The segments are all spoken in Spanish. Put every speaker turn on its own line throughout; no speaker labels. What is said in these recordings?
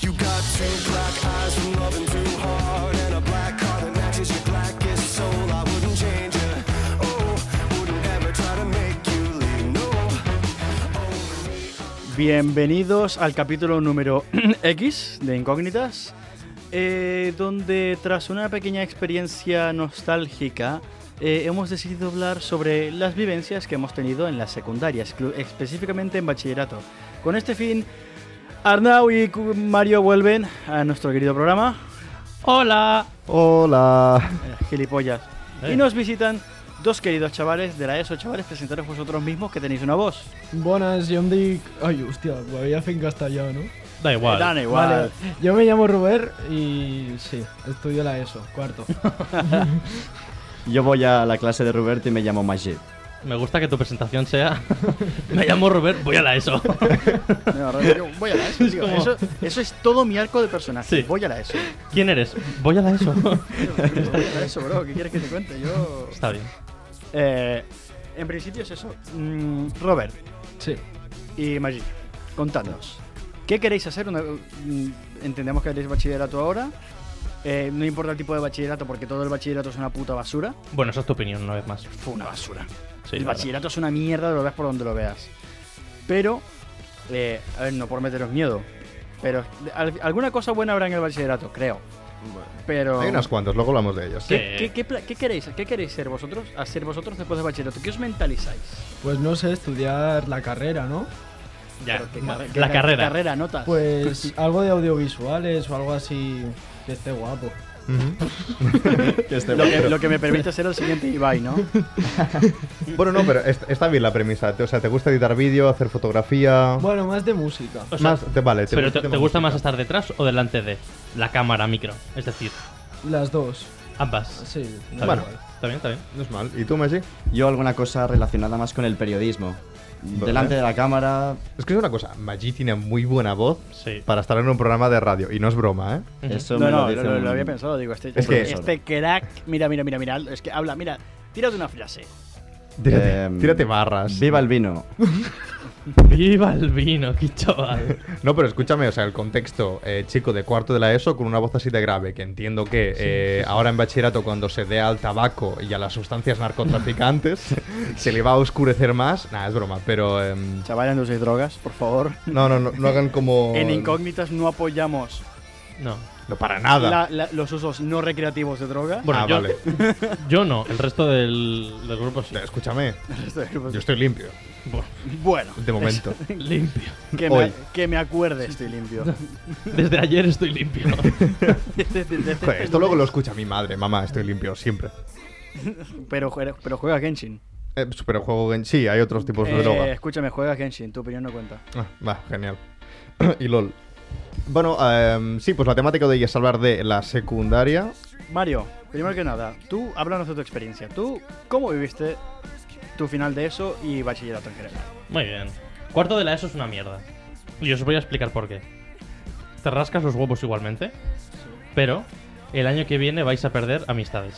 You got two black eyes from loving too hard, and a black car that matches your blackest soul. I wouldn't change you. Oh, wouldn't ever try to make you leave. No.
Bienvenidos al capítulo número X de Incógnitas, eh, donde tras una pequeña experiencia nostálgica eh, hemos decidido hablar sobre las vivencias que hemos tenido en las secundarias, clu- específicamente en bachillerato. Con este fin, Arnau y Cu- Mario vuelven a nuestro querido programa. ¡Hola!
Hola.
Eh, gilipollas. Y nos visitan dos queridos chavales de la ESO. Chavales, presentaros vosotros mismos que tenéis una voz.
Buenas, yo me dic... Ay, hostia, lo había fin castellano, ¿no?
Da igual.
Dan igual.
Vale, yo me llamo Ruber y sí, estudio la ESO, cuarto.
Yo voy a la clase de Roberto y me llamo Magé.
Me gusta que tu presentación sea. Me llamo Robert, voy a la ESO.
No, yo voy a la ESO, tío.
como-
Eso, eso es todo mi arco de personaje.
Sí.
Voy a la ESO.
¿Quién eres? Voy a la ESO.
Voy a la ESO, bro. ¿Qué quieres que te cuente? Yo...
Está bien.
Eh, en principio es eso. Mm, Robert
Sí.
y Maggi, contadnos. ¿Qué queréis hacer? Una- mm, entendemos que haréis bachillerato ahora. Eh, no importa el tipo de bachillerato, porque todo el bachillerato es una puta basura.
Bueno, esa es tu opinión, una vez más.
Fue una basura.
Sí,
el
la
bachillerato es una mierda, lo veas por donde lo veas. Pero, eh, a ver, no por meteros miedo, pero al- alguna cosa buena habrá en el bachillerato, creo. Pero...
Hay unas cuantas, luego hablamos de ellas.
¿Qué,
Sí.
qué- qué pla- qué queréis, ¿Qué queréis ser vosotros? Hacer vosotros después del bachillerato. ¿Qué os mentalizáis?
Pues no sé, estudiar la carrera, ¿no?
Ya,
Pero qué
ma-
carre- qué
la
car-
carrera.
Carrera, notas.
Pues algo de audiovisuales o algo así que esté guapo.
Que esté
Pues,
Lo que,
bueno.
lo que me permite hacer el siguiente Ibai, ¿no?
Bueno, no, pero est- está bien la premisa. Te- O sea, ¿te gusta editar vídeo, hacer fotografía?
Bueno, más de música.
O sea,
más, te, vale,
Pero te,
el
te
tema
gusta
música.
más estar detrás o delante de la cámara micro? Es decir,
Las dos.
ambas.
Sí.
Está
Bueno.
bien. Está bien, está bien.
No es mal. ¿Y tú, Messi?
Yo alguna cosa relacionada más con el periodismo. Delante de la cámara
Es que es una cosa. Maggi tiene muy buena voz
Sí.
para estar en un programa de radio. Y no es broma, ¿eh?
Ujú.
Eso
No,
me
no,
lo dice
lo, lo-
un-
lo había pensado, digo, este,
Es que-
este crack, mira, mira, mira, mira, es que habla, mira, tírate una frase.
Tírate,
Em,
tírate barras.
Viva el vino.
Viva el vino, qué chaval.
No, pero escúchame, o sea, el contexto, eh, chico de cuarto de la ESO con una voz así de grave, que entiendo que eh, ahora en bachillerato cuando se dé al tabaco y a las sustancias narcotraficantes se le va a oscurecer más. Nada, es broma, pero... em,
Chavales, no uséis drogas, por favor.
no, no, no, no hagan como...
En incógnitas no apoyamos
No.
No, para nada.
la- la- los usos no recreativos de droga.
Bueno,
ah,
yo,
vale.
yo no, el resto del, del grupo sí.
Escúchame, yo
Bueno,
estoy limpio,
Bueno,
de momento.
limpio.
que, me,
hoy.
que me acuerde, estoy limpio.
Desde ayer estoy limpio.
Joder, esto luego lo escucha mi madre, mamá, estoy limpio siempre.
Pero, juega- pero juega Genshin.
Eh, pero juego en sí, hay otros tipos de
Eh,
droga.
Escúchame, juega Genshin, tu opinión no cuenta.
Ah, va, genial. y LOL. Bueno, em, sí, pues la temática de hoy es hablar de la secundaria.
Mario, primero que nada, tú háblanos de tu experiencia. ¿Tú cómo viviste tu final de eso y bachillerato en general?
Muy bien. Cuarto de la ESO es una mierda. Y os voy a explicar por qué. Te rascas los huevos igualmente, pero el año que viene vais a perder amistades.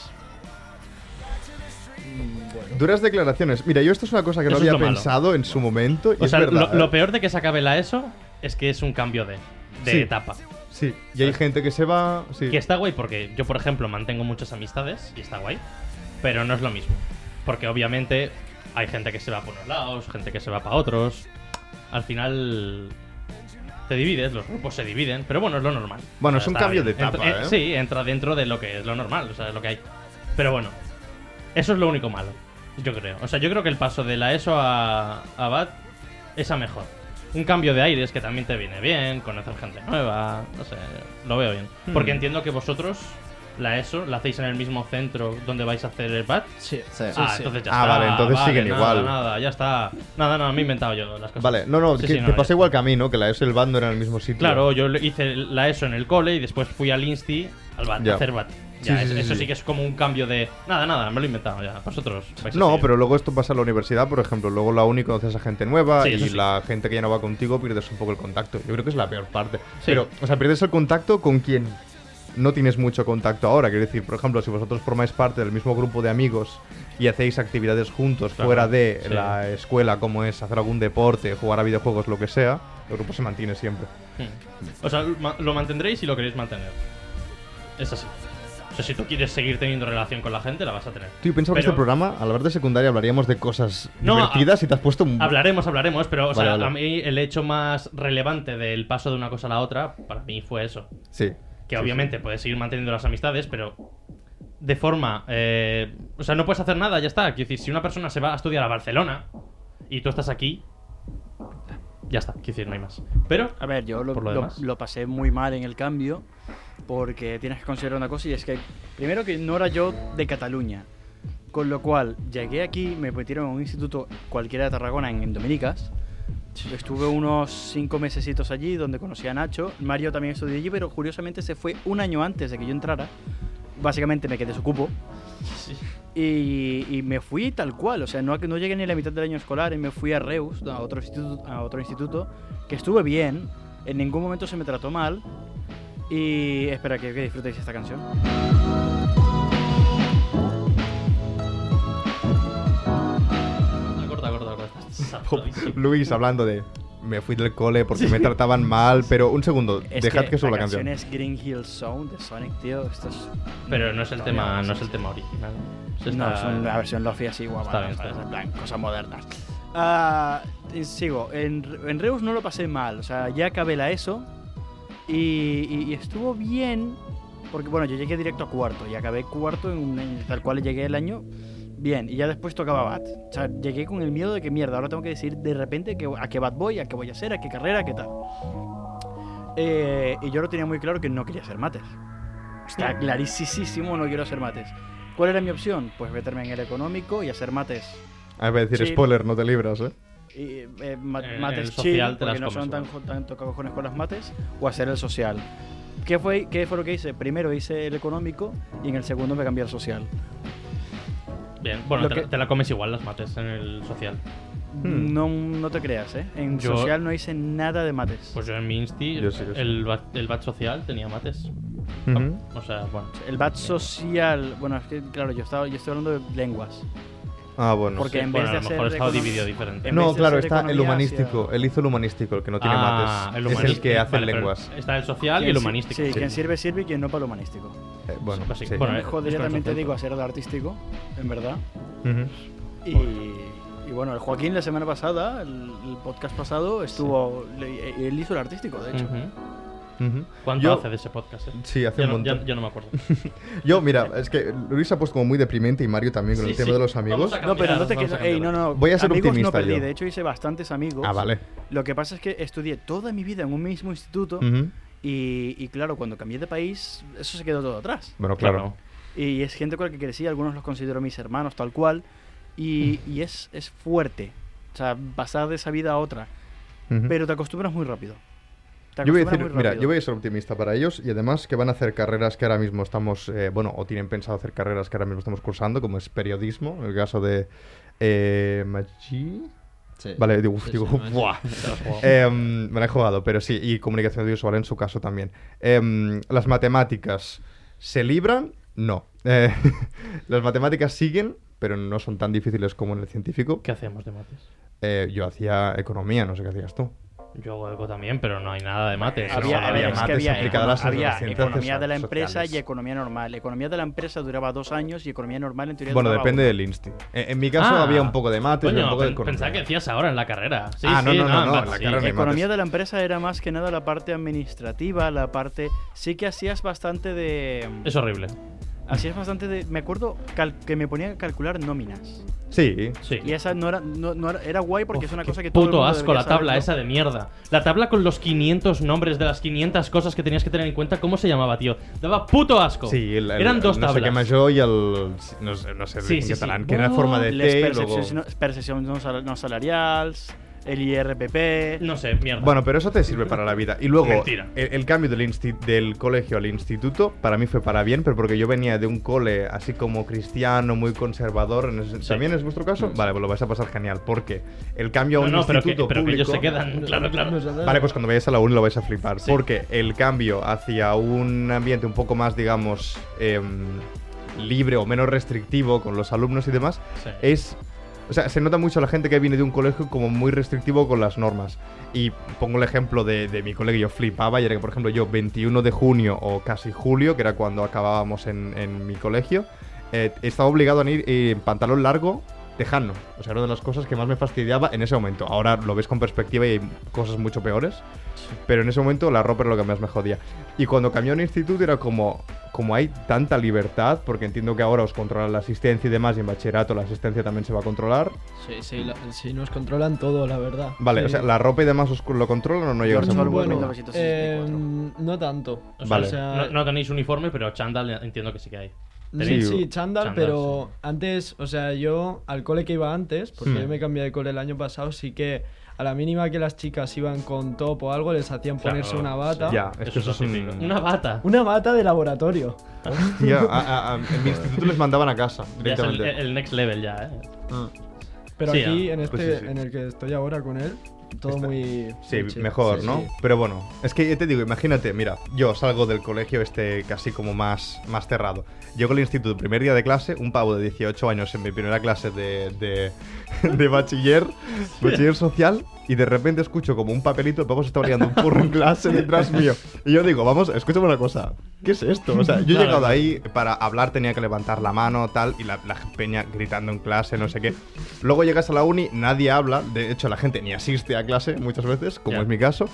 Duras declaraciones. Mira, yo esto es una cosa que no
Eso es
había
lo malo.
pensado en su momento. Y
o
es
sea,
verdad,
lo, lo
¿eh?
peor de que se acabe la ESO es que es un cambio de, de
Sí.
etapa.
Sí, y hay gente que se va. Sí.
Que está guay porque yo, por ejemplo, mantengo muchas amistades y está guay, pero no es lo mismo. Porque obviamente hay gente que se va por unos lados, gente que se va para otros. Al final te divides, los grupos se dividen, pero bueno, es lo normal.
Bueno, es un
está
cambio de
Entra-
etapa, ¿eh?
Sí, entra dentro de lo que es lo normal, o sea, es lo que hay. Pero bueno, eso es lo único malo, yo creo. O sea, yo creo que el paso de la ESO a, a BAT es a mejor. Un cambio de aires que también te viene bien, conocer gente nueva, no sé, lo veo bien.
Hmm.
Porque entiendo que vosotros la ESO la hacéis en el mismo centro donde vais a hacer el BAT.
Sí.
Sí.
ah,
sí.
entonces ya
Ah,
está.
vale, entonces siguen
nada,
igual.
Nada, ya está. Nada, nada, me he inventado yo las cosas.
Vale, no, no,
Sí,
que
sí,
te
ya
pasa
está.
igual que a mí, ¿no? Que la ESO y el bando eran en el mismo sitio.
Claro, yo le- hice la ESO en el cole y después fui al INSTI al BAT,
Ya.
a hacer BAT. Ya,
Sí,
es-
sí, sí,
eso
sí.
sí que es como un cambio de. Nada, nada, me lo he inventado ya. Vosotros. vais a
No,
seguir.
pero luego esto pasa en la universidad, por ejemplo. Luego la uni conoces a gente nueva
Sí,
y
eso sí.
la gente que ya no va contigo pierdes un poco el contacto. Yo creo que es la peor parte.
Sí.
Pero, o sea, pierdes el contacto con quien no tienes mucho contacto ahora. Quiero decir, por ejemplo, si vosotros formáis parte del mismo grupo de amigos y hacéis actividades juntos
Claro,
fuera de
sí.
la escuela, como es hacer algún deporte, jugar a videojuegos, lo que sea, el grupo se mantiene siempre.
Hmm. O sea, lo ma- lo mantendréis y lo queréis mantener. Es así. O sea, si tú quieres seguir teniendo relación con la gente, la vas a tener.
Tío, pensaba que
Pero-
este programa, al hablar de secundaria, hablaríamos de cosas
No,
divertidas y te has puesto un...
Hablaremos, hablaremos, pero o sea,
Vale, vale.
a mí el hecho más relevante del paso de una cosa a la otra, para mí fue eso.
Sí.
Que
Sí,
obviamente puedes seguir manteniendo las amistades, pero de forma. eh, o sea, no puedes hacer nada, ya está. Quiero decir, si una persona se va a estudiar a Barcelona y tú estás aquí, ya está. Quiero decir, no hay más. Pero.
A ver, yo lo,
Por lo
lo-
demás.
lo pasé muy mal en el cambio porque tienes que considerar una cosa y es que, primero que no era yo de Cataluña, con lo cual llegué aquí, me metieron a un instituto cualquiera de Tarragona en, en Dominicas. Estuve unos cinco mesecitos allí donde conocí a Nacho. Mario también estudió allí, pero curiosamente se fue un año antes de que yo entrara. Básicamente me quedé su cupo. Y, y me fui tal cual, o sea, no, no llegué ni a la mitad del año escolar y me fui a Reus, a otro instituto, a otro instituto que estuve bien, en ningún momento se me trató mal. Y espera, que, que disfrutéis esta canción.
Corta, corta, corta. Saturadísimo.
Luis hablando de me fui del cole porque me trataban mal, pero un segundo,
Es
dejad que, suba la canción.
es Green Hill Zone de Sonic, tío. Esto es.
Pero no es el tema, no es el tema original. Eso
No,
está-
es una versión lofi así, guapa.
está bien,
¿sabes?
está
En plan, cosas modernas. Ah, y sigo. En, en Reus no lo pasé mal. O sea, ya acabé la ESO. Y, y- y estuvo bien. Porque, bueno, yo llegué directo a cuarto. Y acabé cuarto en un año, tal cual llegué el año. Bien, y ya después tocaba BAT. O sea, llegué con el miedo de que mierda, ahora tengo que decidir de repente que- a qué BAT voy, a qué voy a hacer, a qué carrera, a qué tal. Eh, y yo lo tenía muy claro que no quería hacer mates. Está clarísimo, no quiero hacer mates. ¿Cuál era mi opción? Pues meterme en el económico y hacer mates.
Ah, iba a decir
Sí.
spoiler, no te libras, ¿eh?
Y, eh, ma-
Eh,
mates
el social
chill,
te
porque
las
no
comes,
son tan, jo- tan tocacojones con las mates, o hacer el social. ¿Qué fue, ¿Qué fue lo que hice? Primero hice el económico y en el segundo me cambié al social.
Bien, bueno,
Lo
te,
que-
la- te la comes igual las mates en el social.
Hmm.
No, no te creas, ¿eh? En
Yo-
social no hice nada de mates.
Pues yo en mi insti,
Yo sí, yo sí.
el, bat- el batch social tenía mates.
Ujú.
O sea, bueno.
el BAT social, bueno, es que claro, yo estaba, yo estoy hablando de lenguas.
Ah, bueno.
Porque en vez
bueno,
de
a lo
hacer
mejor estaba
econom-
dividido diferente.
en
No,
vez de
claro,
hacer
está el
economía
humanístico.
hacia-
Él hizo el humanístico, el que no tiene
Ah,
mates.
el
es el
humanístico.
que hace
Vale, pero
lenguas.
Está el social y el
Quien si-
humanístico.
Sí, quien sirve sirve y quien no para lo humanístico.
Eh, bueno,
Pues sí,
sí.
bueno, eh,
Mejor
es
directamente
concepto.
digo hacer lo artístico, en verdad.
eh.
Ujú.
Y, y bueno, el Joaquín la semana pasada, el, el podcast pasado, estuvo. le- eh, él hizo el artístico, de hecho.
Ujú.
Ujú.
¿Cuánto
Yo-
hace de ese podcast? eh?
Sí, hace
Ya
un
no- ya-
montón.
ya no me acuerdo.
Yo, mira, es que Luis se ha puesto como muy deprimente y Mario también con
Sí,
el tema
sí.
de los
Vamos
amigos.
a cambiar,
No, pero no te
vamos a
quedes. Ey, no,
cambiar.
no.
Voy a ser
amigos
optimista
no perdí.
yo.
De hecho, hice bastantes amigos.
Ah, vale.
Lo que pasa es que estudié toda mi vida en un mismo instituto.
Ujú.
Y, y claro, cuando cambié de país, eso se quedó todo atrás.
Bueno, claro.
Y es gente con la que crecí, algunos los considero mis hermanos, tal cual. Y, y es, es fuerte. O sea, pasar de esa vida a otra.
Ujú.
Pero te acostumbras muy rápido. Te
Yo voy a
acostumbras
decir,
muy
mira,
rápido.
yo voy a ser optimista para ellos y además que van a hacer carreras que ahora mismo estamos, eh, bueno, o tienen pensado hacer carreras que ahora mismo estamos cursando, como es periodismo, en el caso de eh, Maggi.
Sí.
Vale, digo, uf,
Sí,
digo,
sí, Maggi.
¡buah!
Te lo juego.
Em, me la he jugado, pero sí, y comunicación audiovisual en su caso también. Em, las matemáticas, ¿se libran? No. Eh, las matemáticas siguen, pero no son tan difíciles como en el científico.
¿Qué hacemos de mates?
Eh, yo hacía economía, no sé qué hacías tú.
Yo hago algo también, pero no hay nada de mates.
Eso
había,
no,
a ver,
había
es que
mates
había
aplicadas a las
había
ciencias
economía de la empresa
sociales.
y economía normal. Economía de la empresa duraba dos años y economía normal en teoría
Bueno,
duraba
depende
uno.
del insti. En, en mi caso
Ah,
había un poco de mates,
Coño,
un poco de
pen-
economía.
pensaba que decías ahora en la carrera. Sí,
Ah, no,
sí,
no, no, no,
en
en la
sí.
carrera no hay mates.
Economía de la empresa era más que nada la parte administrativa, la parte... Sí que hacías bastante de...
Es horrible.
Hacías bastante de... Me acuerdo cal- que me ponían a calcular nóminas.
Sí.
Sí.
Y esa no era... No, no era, era guay porque
Uf,
es una
qué
cosa que todo el
puto
mundo
asco
debería
la tabla
saber, ¿no?
esa de mierda. La tabla con los 500 nombres de las 500 cosas que tenías que tener en cuenta, ¿cómo se llamaba, tío? Daba puto asco.
Sí, el, el-
Eran
el
dos
no sé qué
tablas.
mayor y el. No sé, no sé
Sí,
en
sí, Oh,
catalán,
sí.
que era forma de
Les
T y luego.
percepcions no, percepcions no sal- no salarials, el IRPP.
No sé, mierda.
Bueno, pero eso te sirve para la vida. Y luego, el,
Mentira.
el cambio del, insti- del colegio al instituto, para mí fue para bien, pero porque yo venía de un cole así como cristiano, muy conservador. en ese-
Sí. Mm.
¿También es vuestro caso? Vale, pues lo vais a pasar genial, porque el cambio a
no,
un
no, pero, que,
instituto
pero que ellos
público...
se quedan. Claro, claro.
Vale, pues cuando vayáis a la uni lo vais a flipar.
Sí.
Porque el cambio hacia un ambiente un poco más, digamos, em, libre o menos restrictivo con los alumnos y demás,
Sí.
es. O sea, se nota mucho la gente que viene de un colegio como muy restrictivo con las normas. Y pongo el ejemplo de, de mi colegio, yo flipaba, y era que, por ejemplo, yo 21 de junio o casi julio, que era cuando acabábamos en, en mi colegio, eh, estaba obligado a ir eh, en pantalón largo tejano. O sea, era una de las cosas que más me fastidiaba en ese momento. Ahora lo ves con perspectiva y hay cosas mucho peores. Pero en ese momento la ropa era lo que más me jodía. Y cuando cambió al instituto era como, como hay tanta libertad, porque entiendo que ahora os controlan la asistencia y demás, y en bachillerato la asistencia también se va a controlar.
Sí, sí, la- sí, nos controlan todo, la verdad.
Vale,
Sí.
o sea, la ropa y demás os lo controlan o no llegas a
Bueno,
ese
Orwell,
punto?
1964.
eh,
no tanto.
O sea,
Vale.
O sea,
no, no tenéis uniforme, pero chándal entiendo que sí que hay.
Sí,
Tenéis-
sí, chándal,
chándal,
pero antes, o sea, yo al cole que iba antes, porque
Hmm.
yo me cambié de cole el año pasado, sí que a la mínima que las chicas iban con top o algo, les hacían
Claro,
ponerse una bata.
sí.
Ya, es
Eso
que eso
es
es
lo
un-
típico. Una bata.
Una bata de laboratorio.
Hostia, a- a- a- en mi instituto les mandaban a casa
Ya es el,
directamente.
el next level ya, eh.
Pero
Sí,
aquí,
ah,
en este,
pues sí, sí.
en el que estoy ahora con él, todo
Está-
muy.
Sí,
muy chill.
mejor,
Sí,
¿no?
sí.
Pero bueno, es que ya te digo, imagínate, mira, yo salgo del colegio este casi como más, más cerrado. Llego al instituto, primer día de clase, un pavo de 18 años en mi primera clase de, de, de bachiller, bachiller social, y de repente escucho como un papelito, el pavo se está variando un porro en clase detrás mío. Y yo digo, vamos, escúchame una cosa, ¿qué es esto? O sea, yo he
Claro.
llegado ahí, para hablar tenía que levantar la mano, tal, y la, la peña gritando en clase, no sé qué. Luego llegas a la uni, nadie habla, de hecho la gente ni asiste a clase muchas veces, como
Ya.
es mi caso.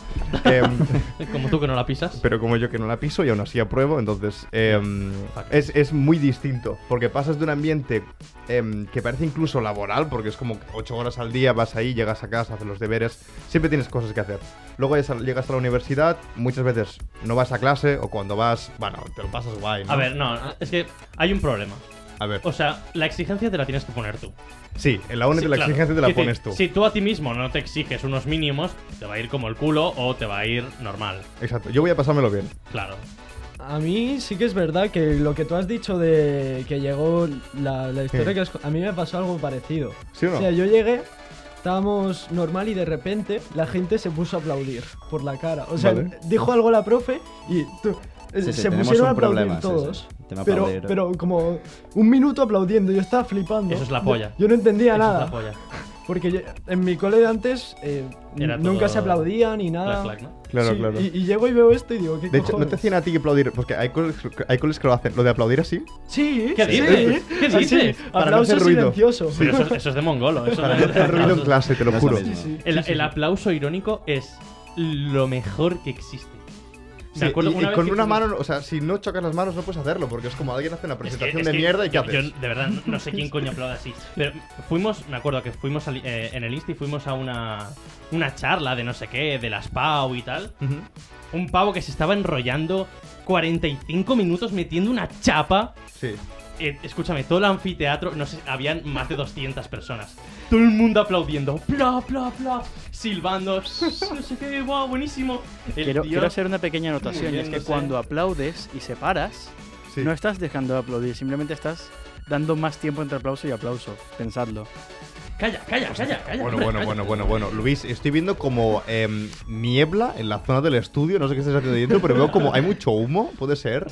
Em,
Como tú que no la pisas.
pero como yo que no la piso y aún así apruebo, entonces em,
Fuck.
es, es muy distinto, porque pasas de un ambiente em, que parece incluso laboral, porque es como 8 horas al día, vas ahí, llegas a casa, haces los deberes, siempre tienes cosas que hacer. Luego llegas a- llegas a la universidad, muchas veces no vas a clase o cuando vas, bueno, te lo pasas guay. ¿no?
A ver, no, es que hay un problema.
a ver.
O sea, la exigencia te la tienes que poner tú.
Sí, en la uni
Sí,
te la
claro.
exigencia te la
Quiero
pones
decir,
tú.
Si tú a ti mismo no te exiges unos mínimos, te va a ir como el culo o te va a ir normal.
Exacto, yo voy a pasármelo bien.
Claro.
A mí sí que es verdad que lo que tú has dicho de que llegó la, la historia
Sí.
que has co- A mí me pasó algo parecido.
¿Sí o no?
sea, yo llegué, estábamos normal y de repente la gente se puso a aplaudir por la cara. O sea,
Vale.
dijo algo la profe y tú- eh,
Sí, sí,
se
tenemos
pusieron a
un
aplaudir
problema, sí,
todos.
sí, el tema
pero,
aplaudir.
pero como un minuto aplaudiendo, yo estaba flipando.
Eso es la polla.
Yo, yo no entendía
Eso es
nada.
la polla.
Porque yo- en mi cole de antes eh,
Era
nunca
todo
se aplaudía ni nada.
Clac, clac, ¿no?
Claro,
Sí,
claro.
Y, y llego y veo esto y digo, ¿qué
De hecho, ¿no te
cojones?
hacían a ti que aplaudir? Porque hay coles, hay coles que lo hacen. ¿Lo de aplaudir así?
Sí,
¿Qué
sí,
dices?
sí.
¿Qué
Así,
dices?
Para no hacer
aplauso
ruido.
silencioso.
Pero eso, eso es de mongolo. Eso
Para
no-
no hacer ruido en clase, te lo
No es lo
juro.
mismo.
Sí, Eh, sí.
El, el aplauso irónico es lo mejor que existe. Me
Sí,
acuerdo
y- y
vez
con
que
una
fuimos-
mano, o sea, si no chocas las manos no puedes hacerlo, porque es como alguien hace una
Es que-
presentación
es
de
que
mierda y ¿qué
yo-
haces?
Yo, de verdad, no- no sé quién coño aplaude así. Pero fuimos, me acuerdo que fuimos al- eh, en el Insti, fuimos a una, una charla de no sé qué, de las PAU y tal. Un pavo que se estaba enrollando 45 minutos metiendo una chapa.
Sí.
Eh, escúchame, todo el anfiteatro, no sé, habían más de 200 personas. Todo el mundo aplaudiendo, bla, bla, bla, silbando, no sé qué, guau, buenísimo. El
Quiero,
tío-
quiero hacer una pequeña anotación, y es que
muriéndose.
cuando aplaudes y separas,
Sí.
no estás dejando de aplaudir, simplemente estás dando más tiempo entre aplauso y aplauso. Pensadlo.
Calla, calla, calla, calla.
Bueno,
hombre,
bueno,
calla.
bueno, bueno, bueno. Luis, estoy viendo como em, niebla en la zona del estudio. No sé qué estás haciendo dentro, pero veo como hay mucho humo, puede ser.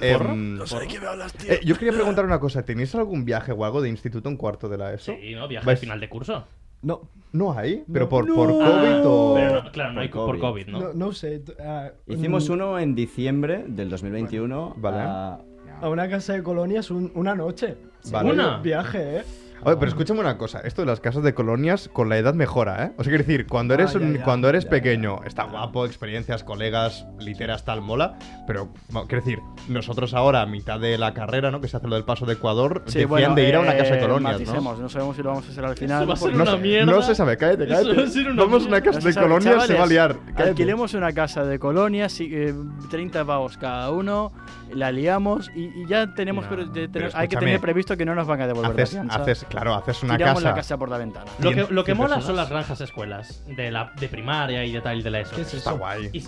Em, eh, yo quería preguntar una cosa. ¿Tenéis algún viaje o algo de instituto en cuarto de la ESO?
Sí, ¿no? Viaje
Vais-
al final de curso.
No,
No hay, pero
No.
por, por
No.
Ah. COVID o.
Pero no, claro, no
por
hay co- por
COVID.
COVID, ¿no?
no, no sé. t- ah,
Hicimos
mm,
uno en diciembre del 2021.
Vale.
a-
a una casa de colonias un- una noche.
Vale.
Una.
Viaje, ¿eh?
Oye, pero escúchame una cosa, esto de las casas de colonias con la edad mejora, ¿eh? O sea, quiero decir, cuando
Ah,
eres,
ya,
un-
ya,
cuando eres
ya,
pequeño, está guapo, experiencias, colegas, literas, tal, mola, pero bueno, quiero decir, nosotros ahora, a mitad de la carrera, ¿no? Que se hace lo del paso de Ecuador, decían de ir a una casa de
eh,
colonias, ¿no?
maticemos, ¿no? sabemos si lo vamos a hacer al final.
va a ser
porque-
No,
una
se-
mierda.
no se sabe, cállate,
Eso va a
cállate.
ser una
Vamos a una
mierda.
casa
No se
de
sabe,
colonias, se va a
chavales,
liar. cállate.
Alquilemos una casa de colonias, sí, eh, 30 pavos cada uno, la liamos y, y ya tenemos.
No,
pero de-
pero
hay que
escúchame.
tener previsto que no nos van a devolver
Haces,
la fianza.
haces Claro, haces una
Tiramos la
casa.
casa por la ventana.
Lo
Cien-
que, lo que
cien
mola
personas.
son las granjas escuelas de, la, de primaria y de tal y de la ESO.
¿Qué es eso?
Está guay.
Y-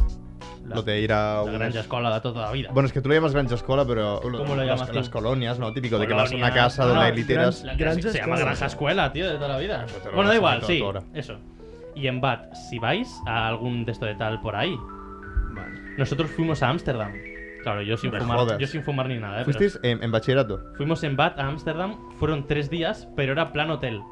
la,
Lo de ir a
la
unos-
granja escola de toda la vida.
Bueno, es que tú le llamas granja escola, pero
¿Cómo lo
las,
llamas tú?
las colonias, ¿no? Típico de que vas a una
Colonia.
casa donde
Ah,
hay literas.
gran- la- gran-
Granja
se llama
escuela.
granja escuela, tío, de toda la vida.
Eso Pues te lo
Bueno, da
vas
igual,
sacando
sí.
a toda hora.
Eso. Y en Bat, si vais a algún de esto de tal por ahí, nosotros fuimos a Ámsterdam. Claro, yo sin,
Me
fumar,
jodas.
yo sin fumar ni nada, ¿eh? pero-
¿Fuisteis en, en bachillerato?
Fuimos en Bat a Ámsterdam, fueron tres días, pero era plan hotel.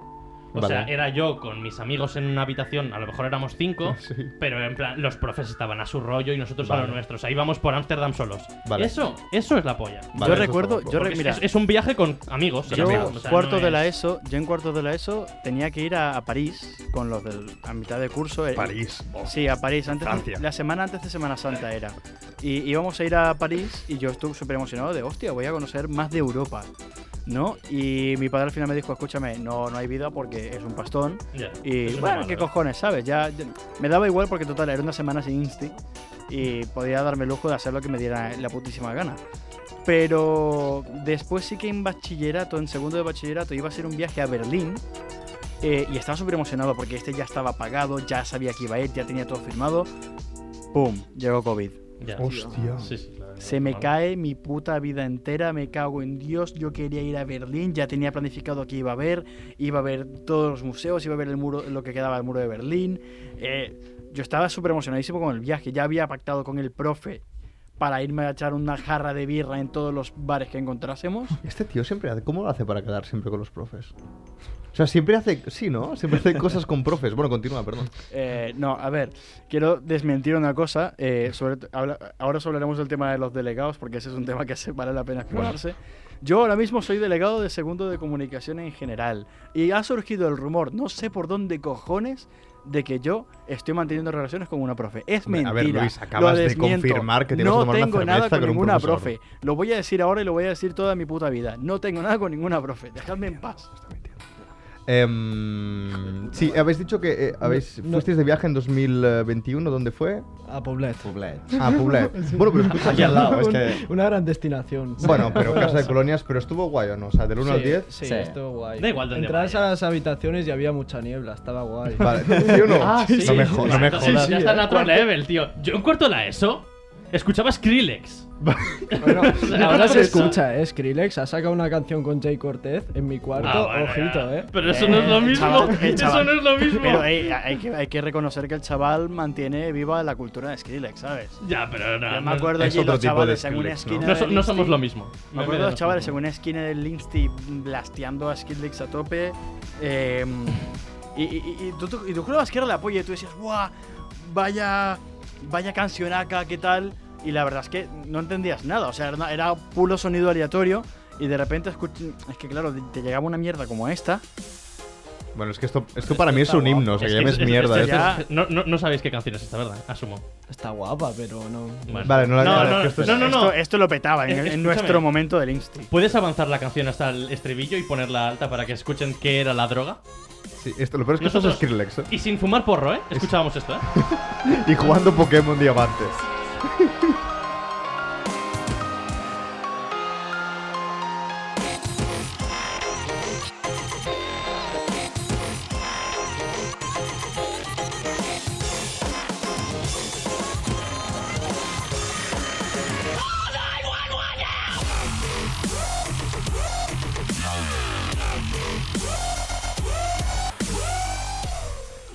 O
Vale.
sea, era yo con mis amigos en una habitación, a lo mejor éramos cinco,
Sí.
pero en plan, los profes estaban a su rollo y nosotros a
Vale.
lo nuestro. O sea, íbamos por Ámsterdam solos.
Vale.
Eso, eso es la polla.
Vale,
yo
eso
recuerdo,
está
yo
guapo.
re-
Porque es-
mira,
es, es un viaje con amigos.
Con
y
yo
amigos, o sea,
cuarto
no
de la
es-
ESO, yo en cuarto de la ESO tenía que ir a, a París con los del a mitad de curso. eh,
París. oh.
Sí, a París. Antes de-
Francia.
la semana antes de Semana Santa era. Y íbamos a ir a París y yo estuve súper emocionado de, hostia, voy a conocer más de Europa. ¿No? Y mi padre al final me dijo, escúchame, no, no hay vida porque es un pastón.
Ya,
Y
eso es ¿eh?
bueno,
normal,
qué
¿verdad?
cojones, ¿sabes? Ya, ya- me daba igual porque total, era una semana sin Insti y podía darme el lujo de hacer lo que me diera la putísima gana. Pero después sí que en bachillerato, en segundo de bachillerato, iba a ser un viaje a Berlín eh, y estaba súper emocionado porque este ya estaba pagado, ya sabía que iba a ir, ya tenía todo firmado. ¡Pum! Llegó COVID.
Ya.
Hostia.
Sí, sí, claro,
Se me
normal.
cae mi puta vida entera, me cago en Dios. Yo quería ir a Berlín, ya tenía planificado que iba a ver, iba a ver todos los museos, iba a ver el muro, lo que quedaba del muro de Berlín. Eh, yo estaba súper emocionadísimo con el viaje, ya había pactado con el profe para irme a echar una jarra de birra en todos los bares que encontrásemos.
Este tío siempre hace. ¿Cómo lo hace para quedar siempre con los profes? O sea, siempre hace. Sí, ¿no? Siempre hace cosas con profes. Bueno, continúa, perdón.
Eh, no, a ver, quiero desmentir una cosa. eh, sobre, habla- ahora os hablaremos del tema de los delegados, porque ese es un tema que se vale la pena explorarse. Yo ahora mismo soy delegado de segundo de comunicación en general. Y ha surgido el rumor, no sé por dónde cojones, de que yo estoy manteniendo relaciones con una profe. Es
Hombre,
mentira.
a ver, Luis,
lo
acabas de
desmiento.
confirmar que te vas a
No
tomar una
tengo nada
cerveza
con,
con un
ninguna
profesor.
profe. Lo voy a decir ahora y lo voy a decir toda mi puta vida. No tengo nada con ninguna profe. Dejadme en paz.
Em, sí, habéis dicho que. eh, habéis,
No.
Fuisteis de viaje en 2021, ¿dónde fue?
A Poblet.
Poblet.
Ah, Poblet. Bueno, pero escucha.
Aquí al lado, es
Un-
que.
Una gran destinación.
Bueno, pero casa de colonias, pero estuvo guay o no. O sea, del 1 al
Sí,
10.
Sí,
Sí.
estuvo guay.
Da igual dónde
Entras
vayas.
a las habitaciones y había mucha niebla, estaba guay.
Vale, ¿sí o no?
Ah, sí.
No me, jo- no me
Entonces,
jodas.
Ya
Sí,
está
eh.
en otro level, tío. Yo en cuarto de la ESO escuchaba Skrillex.
Bueno, ahora se
Eso.
escucha, ¿eh? Skrillex ha sacado una canción con Jay Cortez en mi cuarto.
Ah, bueno,
Ojito,
ya.
¿eh?
Pero eso no es lo
Eh,
mismo.
chaval, eh,
Eso
chaval.
no es lo mismo.
Pero hey, hay, que, hay que reconocer que el chaval mantiene viva la cultura de Skrillex, ¿sabes?
Ya, pero no.
Yo me
no-
acuerdo
es
allí
otro
los
tipo de
chavales en una
Skrillex, ¿no?
esquina.
No, so-
del
no somos
Insti-
lo mismo.
Me acuerdo de los chavales en una esquina del Insti blasteando a Skrillex a tope. eh, y, y, y, y tú, tú- y tú jurabas que era la polla y tú decías, ¡guau! Vaya, vaya cancionaca, ¿qué tal? Y la verdad es que no entendías nada. O sea, era, era puro sonido aleatorio. Y de repente escuch- es que claro, te llegaba una mierda como esta.
Bueno, es que esto, esto para mí es un himno, o sea, que llames
es- es-
mierda. eh.
es-
esto es-
ya-
es- No, no, no sabéis qué canción es esta, ¿verdad? Asumo.
Está guapa, pero no.
Bueno.
Vale, no la-
no,
la-
no,
que esto es-
no, no, no.
Pues Esto, esto lo petaba en,
Eh,
en
escúchame.
nuestro momento del Insti.
¿Puedes avanzar la canción hasta el estribillo y ponerla alta para que escuchen qué era la droga?
sí, esto, lo peor es que esto es
Nosotros-
Skrillex, ¿eh?
Y sin fumar porro, ¿eh? Escuchábamos esto, ¿eh?
Y jugando Pokémon Diamantes.
Suficiente.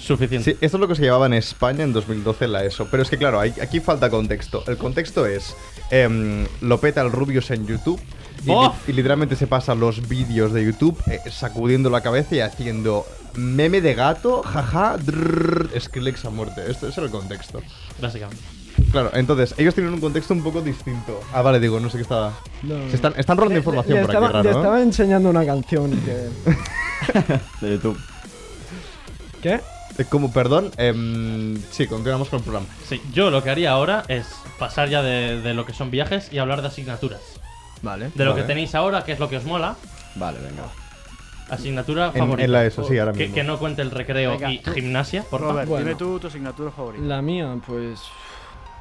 Sí, esto es lo que se llevaba en España en 2012 en la ESO. Pero es que, claro, hay- aquí falta contexto. El contexto es: em, lo peta el Rubius en YouTube. Y,
¡Oh!
y literalmente se pasa los vídeos de YouTube eh, sacudiendo la cabeza y haciendo meme de gato, jaja, drrrr, Skrillex a muerte. Esto, ese era el contexto.
Básicamente.
Claro, entonces, ellos tienen un contexto un poco distinto. Ah, vale, digo, no sé qué estaba.
No, no.
Se están, están rolando
Le-
información
le
por
estaba,
aquí, raro,
le
¿no?
estaba enseñando una canción que...
De YouTube.
¿Qué?
Eh, Como, perdón, em, sí, continuamos con el programa.
Sí, yo lo que haría ahora es pasar ya de, de lo que son viajes y hablar de asignaturas.
Vale.
De lo
Vale.
que tenéis ahora, que es lo que os mola.
Vale, venga.
Asignatura
En-
favorita.
en la ESO, sí, ahora
que,
mismo.
que no cuente el recreo
Venga,
y
tú-
gimnasia, por favor.
Robert,
Bueno.
dime tú tu asignatura favorita.
La mía, pues...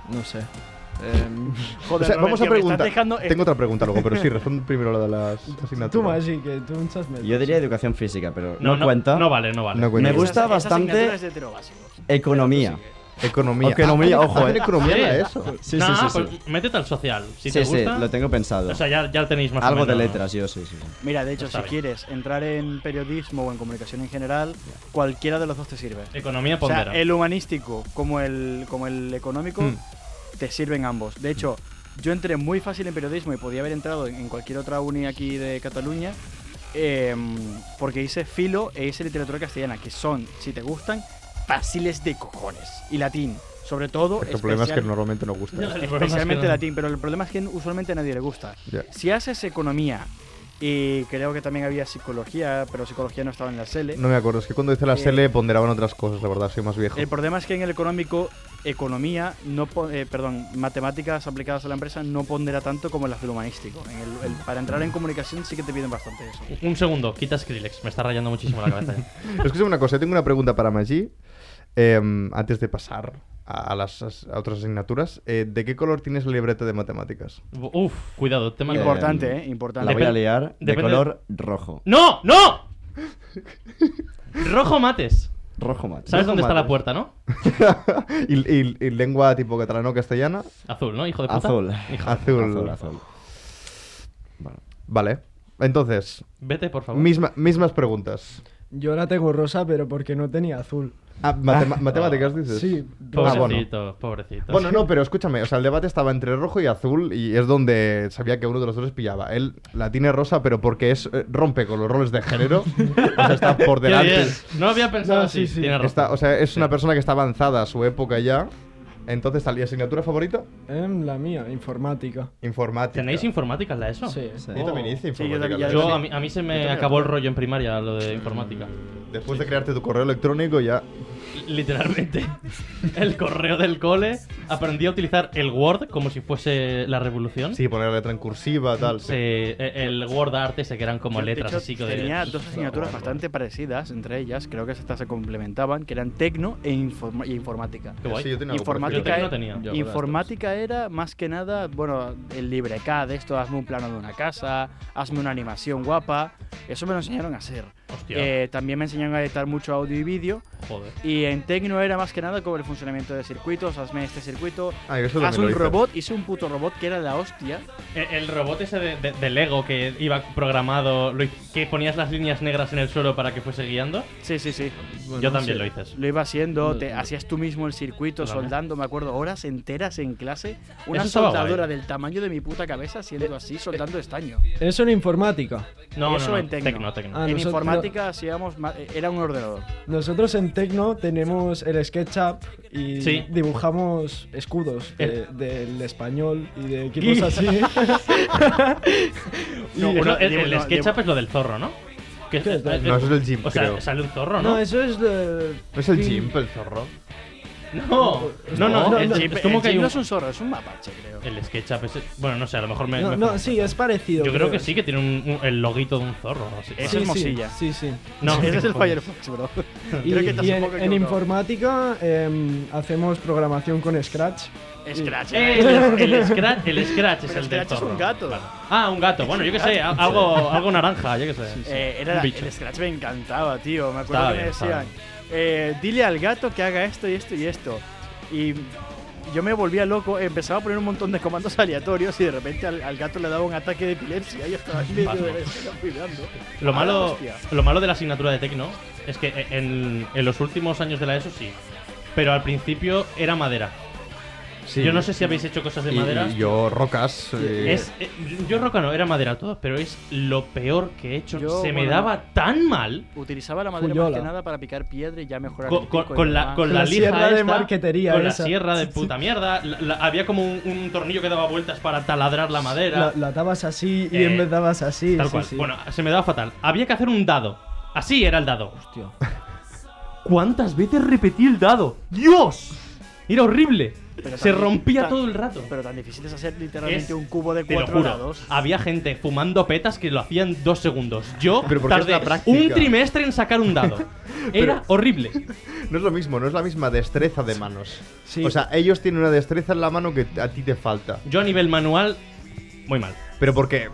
No sé. Em,
O
Joder, Robert,
sea, vamos a
tío, me estás
preguntar.
dejando-
Tengo otra pregunta luego, pero sí, respondo primero la de las asignaturas.
tú más, sí, que tú muchas menos.
Yo diría educación física, pero
No,
no,
no,
cuenta.
No vale, no vale.
No cuenta.
Me gusta
Esas- esas
bastante-
asignaturas de hetero básico.
Economía.
Economía.
Economía,
Ah,
ojo,
¿hacen
eh.
economía
Sí.
era eso.
Sí,
Nah,
sí, sí.
pues
Sí,
métete al social. Si
sí,
te
sí,
gusta.
lo tengo pensado.
O sea, ya, ya lo tenéis más o
Algo de
menos.
letras, yo sí, sí. sí.
Mira, de hecho,
Está
si
bien.
quieres entrar en periodismo o en comunicación en general, cualquiera de los dos te sirve.
Economía
O sea,
pondera.
el humanístico como el, como el económico
Mm.
te sirven ambos. De hecho, yo entré muy fácil en periodismo y podía haber entrado en- en cualquier otra uni aquí de Cataluña em, porque hice filo e hice literatura castellana, que son, si te gustan, fáciles de cojones. Y latín, sobre todo.
Porque el problema es que
especial-
normalmente no gusta.
El problema es
Especialmente
que no-
latín, pero el problema es que usualmente a nadie le gusta.
Ya.
Si haces economía, y creo que también había psicología, pero psicología no estaba en la SELE,
No me acuerdo, es que cuando hice la
Eh,
SL ponderaban otras cosas, la verdad, soy más viejo.
el problema es que en el económico, economía, no po- eh, perdón, matemáticas aplicadas a la empresa no pondera tanto como en la del humanístico. En el- el- para entrar en comunicación sí que te piden bastante eso.
Un segundo, quita Skrillex. Me está rayando muchísimo la cabeza. eh. ya.
Escúchame una cosa, tengo una pregunta para Maggi. em, antes de pasar a las as- a otras asignaturas, eh, ¿de qué color tienes la libreta de matemáticas?
Uf, cuidado, tema
Eh,
importante.
Importante, ¿eh?
La
Importante.
voy a
Depende-
liar de
depende-
color rojo.
¡No! ¡No! Rojo mates.
Rojo mate.
¿Sabes
Rojo
dónde está la
mates.
puerta, no?
y, y- y lengua tipo catalano castellana?
Azul, ¿no? Hijo de puta.
Azul.
Hijo-
Azul.
Azul, azul. Bueno,
Vale. Entonces,
Vete, por favor.
misma- mismas preguntas.
Yo ahora tengo rosa, pero porque no tenía azul.
Ah, matema- matemáticas dices.
Sí,
Ah, bueno.
Pobrecito, pobrecito.
Bueno, no, pero escúchame, o sea, el debate estaba entre rojo y azul y es donde sabía que uno de los dos pillaba. Él la tiene rosa, pero porque es eh, rompe con los roles de género, o sea, está por
Qué
delante.
bien. No había pensado
No, sí,
así.
sí.
Tienes razón.
Está- o sea, es una persona que está avanzada a su época ya. Entonces, ¿tal y asignatura favorita?
em, la mía, informática.
Informática.
¿Tenéis informática en la ESO?
Sí, sí.
Yo también hice
Sí, yo
informática.
también-
Yo, a, mí, a mí se me acabó el rollo en primaria, lo de informática.
Después de crearte tu correo electrónico ya...
¿Mm? Literalmente, el correo del cole aprendí a utilizar el Word como si fuese la revolución.
Sí, poner la letra en cursiva, tal.
Sí, eh, el Word Art ese que eran como
Yo, de
letras
hecho,
así que de-
tenía dos asignaturas bastante parecidas entre ellas, creo que estas se complementaban, que eran tecno e informa- y informática.
Qué guay.
Sí, yo tenía algo
pues Yo
Informática,
tecno
e-
tenía.
Yo.
informática era más que nada, bueno, el librecad, esto, hazme un plano de una casa, hazme una animación guapa, eso me lo enseñaron a hacer.
Hostia,
Eh, también me enseñaron a editar mucho audio y vídeo,
joder.
y en Tecno era más que nada como el funcionamiento de circuitos, hazme este circuito,
Ah, eso
haz
también lo
un
hice.
robot, hice un puto robot que era la hostia,
Eh, El robot ese de, de- de Lego que iba programado, lo hi- que ponías las líneas negras en el suelo para que fuese guiando.
sí, sí, sí.
yo también lo hice. eso.
Lo iba haciendo, te hacías tú mismo el circuito
Claro.
soldando, me acuerdo, horas enteras en clase. Una
Eso estaba
soldadora
guay. Eh,
del tamaño de mi puta cabeza haciendo así, soldando estaño.
ah,
Eso en informática.
No, no,
eso
no,
en Tecno.
Tecno, Tecno.
Ah,
en
nosotros-
informática hacíamos ma- eh, era un ordenador.
Nosotros en Tecno tenemos el SketchUp y
Sí.
dibujamos escudos de-
El-
del español y de equipos así.
No,
Y-
uno-
no,
el,
digo,
el
no,
SketchUp
digo-
es lo del zorro, ¿no? Que-
¿Qué es?
eh,
No, eso es el Jim,
O sea,
creo.
sale un zorro, ¿no?
No, eso es de...
¿No es el
Sí.
chimp, el zorro?
No, no, no,
No,
el
no,
chip- es como
el
que hay
chip
un...
no es un zorro, es un mapache, creo.
El SketchUp ese... Bueno, no sé, a lo mejor me...
No,
me-
no, sí, es parecido.
Yo creo que sí que tiene un- un- el loguito de un zorro. así.
Ese
Sí,
es
sí,
Mozilla.
Sí, sí.
No,
Ese es el
joder.
Firefox, bro.
Y,
Creo que estás
y
un
en,
poco
en
equivocado.
informática em, hacemos programación con Scratch.
Scratch.
Eh, El, el Scratch, el Scratch es
Pero
el del
Scratch es
zorro.
un gato.
Vale. Ah, un gato. Bueno, yo qué sé, a- algo, algo naranja, yo qué sé.
Eh,
Un
era,
bicho.
el Scratch me encantaba, tío. Me acuerdo
Estaba
que me
bien, estaba
decían, eh, dile al gato que haga esto y esto y esto. Y yo me volvía loco, empezaba a poner un montón de comandos aleatorios y de repente al, al gato le daba un ataque de epilepsia y yo estaba en medio
Pasmo.
de la escena cuidando.
Lo
Ah,
malo,
hostia.
lo malo de la asignatura de Tecno es que e- en, en los últimos años de la ESO sí, pero al principio era madera.
Sí.
Yo no sé si habéis hecho cosas de
Y-
madera.
Y, yo, rocas. eh,
Es, eh, yo roca no, era madera todo, pero es lo peor que he hecho.
Yo,
Se me
bueno,
daba tan mal
Utilizaba la madera
Fuyola.
más que nada para picar piedra y ya mejorar
con,
el
con-
pico y
con la,
demás.
con la
La
lija
sierra de
esta,
marquetería
Con
esa.
la sierra de puta mierda. La- la- había como un, un tornillo que daba vueltas para taladrar la madera.
Lo, lo atabas así y
Eh,
en vez dabas así.
Tal
sí,
cual.
sí.
Bueno, se me daba fatal. Había que hacer un dado. Así era el dado.
Hostia.
¿Cuántas veces repetí el dado? ¡Dios! Era horrible.
Pero
Se
tan-
rompía
tan-
todo el rato.
Pero tan difícil es hacer literalmente
Es-
un cubo de
Te lo
cuatro
juro,
lados.
Ah,
había gente fumando petas que lo hacían dos segundos. Yo
Pero porque es
tardé
la práctica.
un trimestre en sacar un dado. Era horrible.
No es lo mismo, no es la misma destreza de manos.
Sí.
O sea, ellos tienen una destreza en la mano que a ti te falta.
Yo a nivel manual, muy mal.
Pero porque.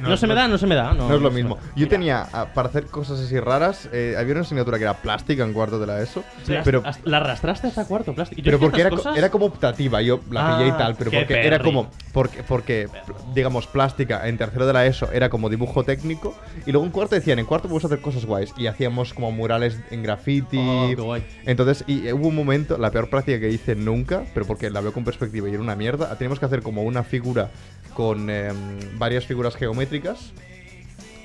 No, se me da, no se me da. No,
No, es lo
se me
mismo.
da.
Yo tenía, ah, para hacer cosas así raras, eh, había una asignatura que era plástica en cuarto de la ESO.
Sí, hasta-
Pero,
hasta- la arrastraste hasta cuarto plástico. Yo
pero
ciertas
porque era, co-
cosas-
era como optativa, yo la
Ah,
pillé y tal, pero
qué
porque era
perri.
como. Porque, porque, digamos, plástica en tercero de la ESO era como dibujo técnico. Y luego en cuarto decían, en cuarto podemos hacer cosas guays. Y hacíamos como murales en graffiti.
Oh, qué guay.
Entonces, y eh, hubo un momento, la peor práctica que hice nunca, pero porque la veo con perspectiva y era una mierda, teníamos que hacer como una figura con eh, varias figuras geométricas.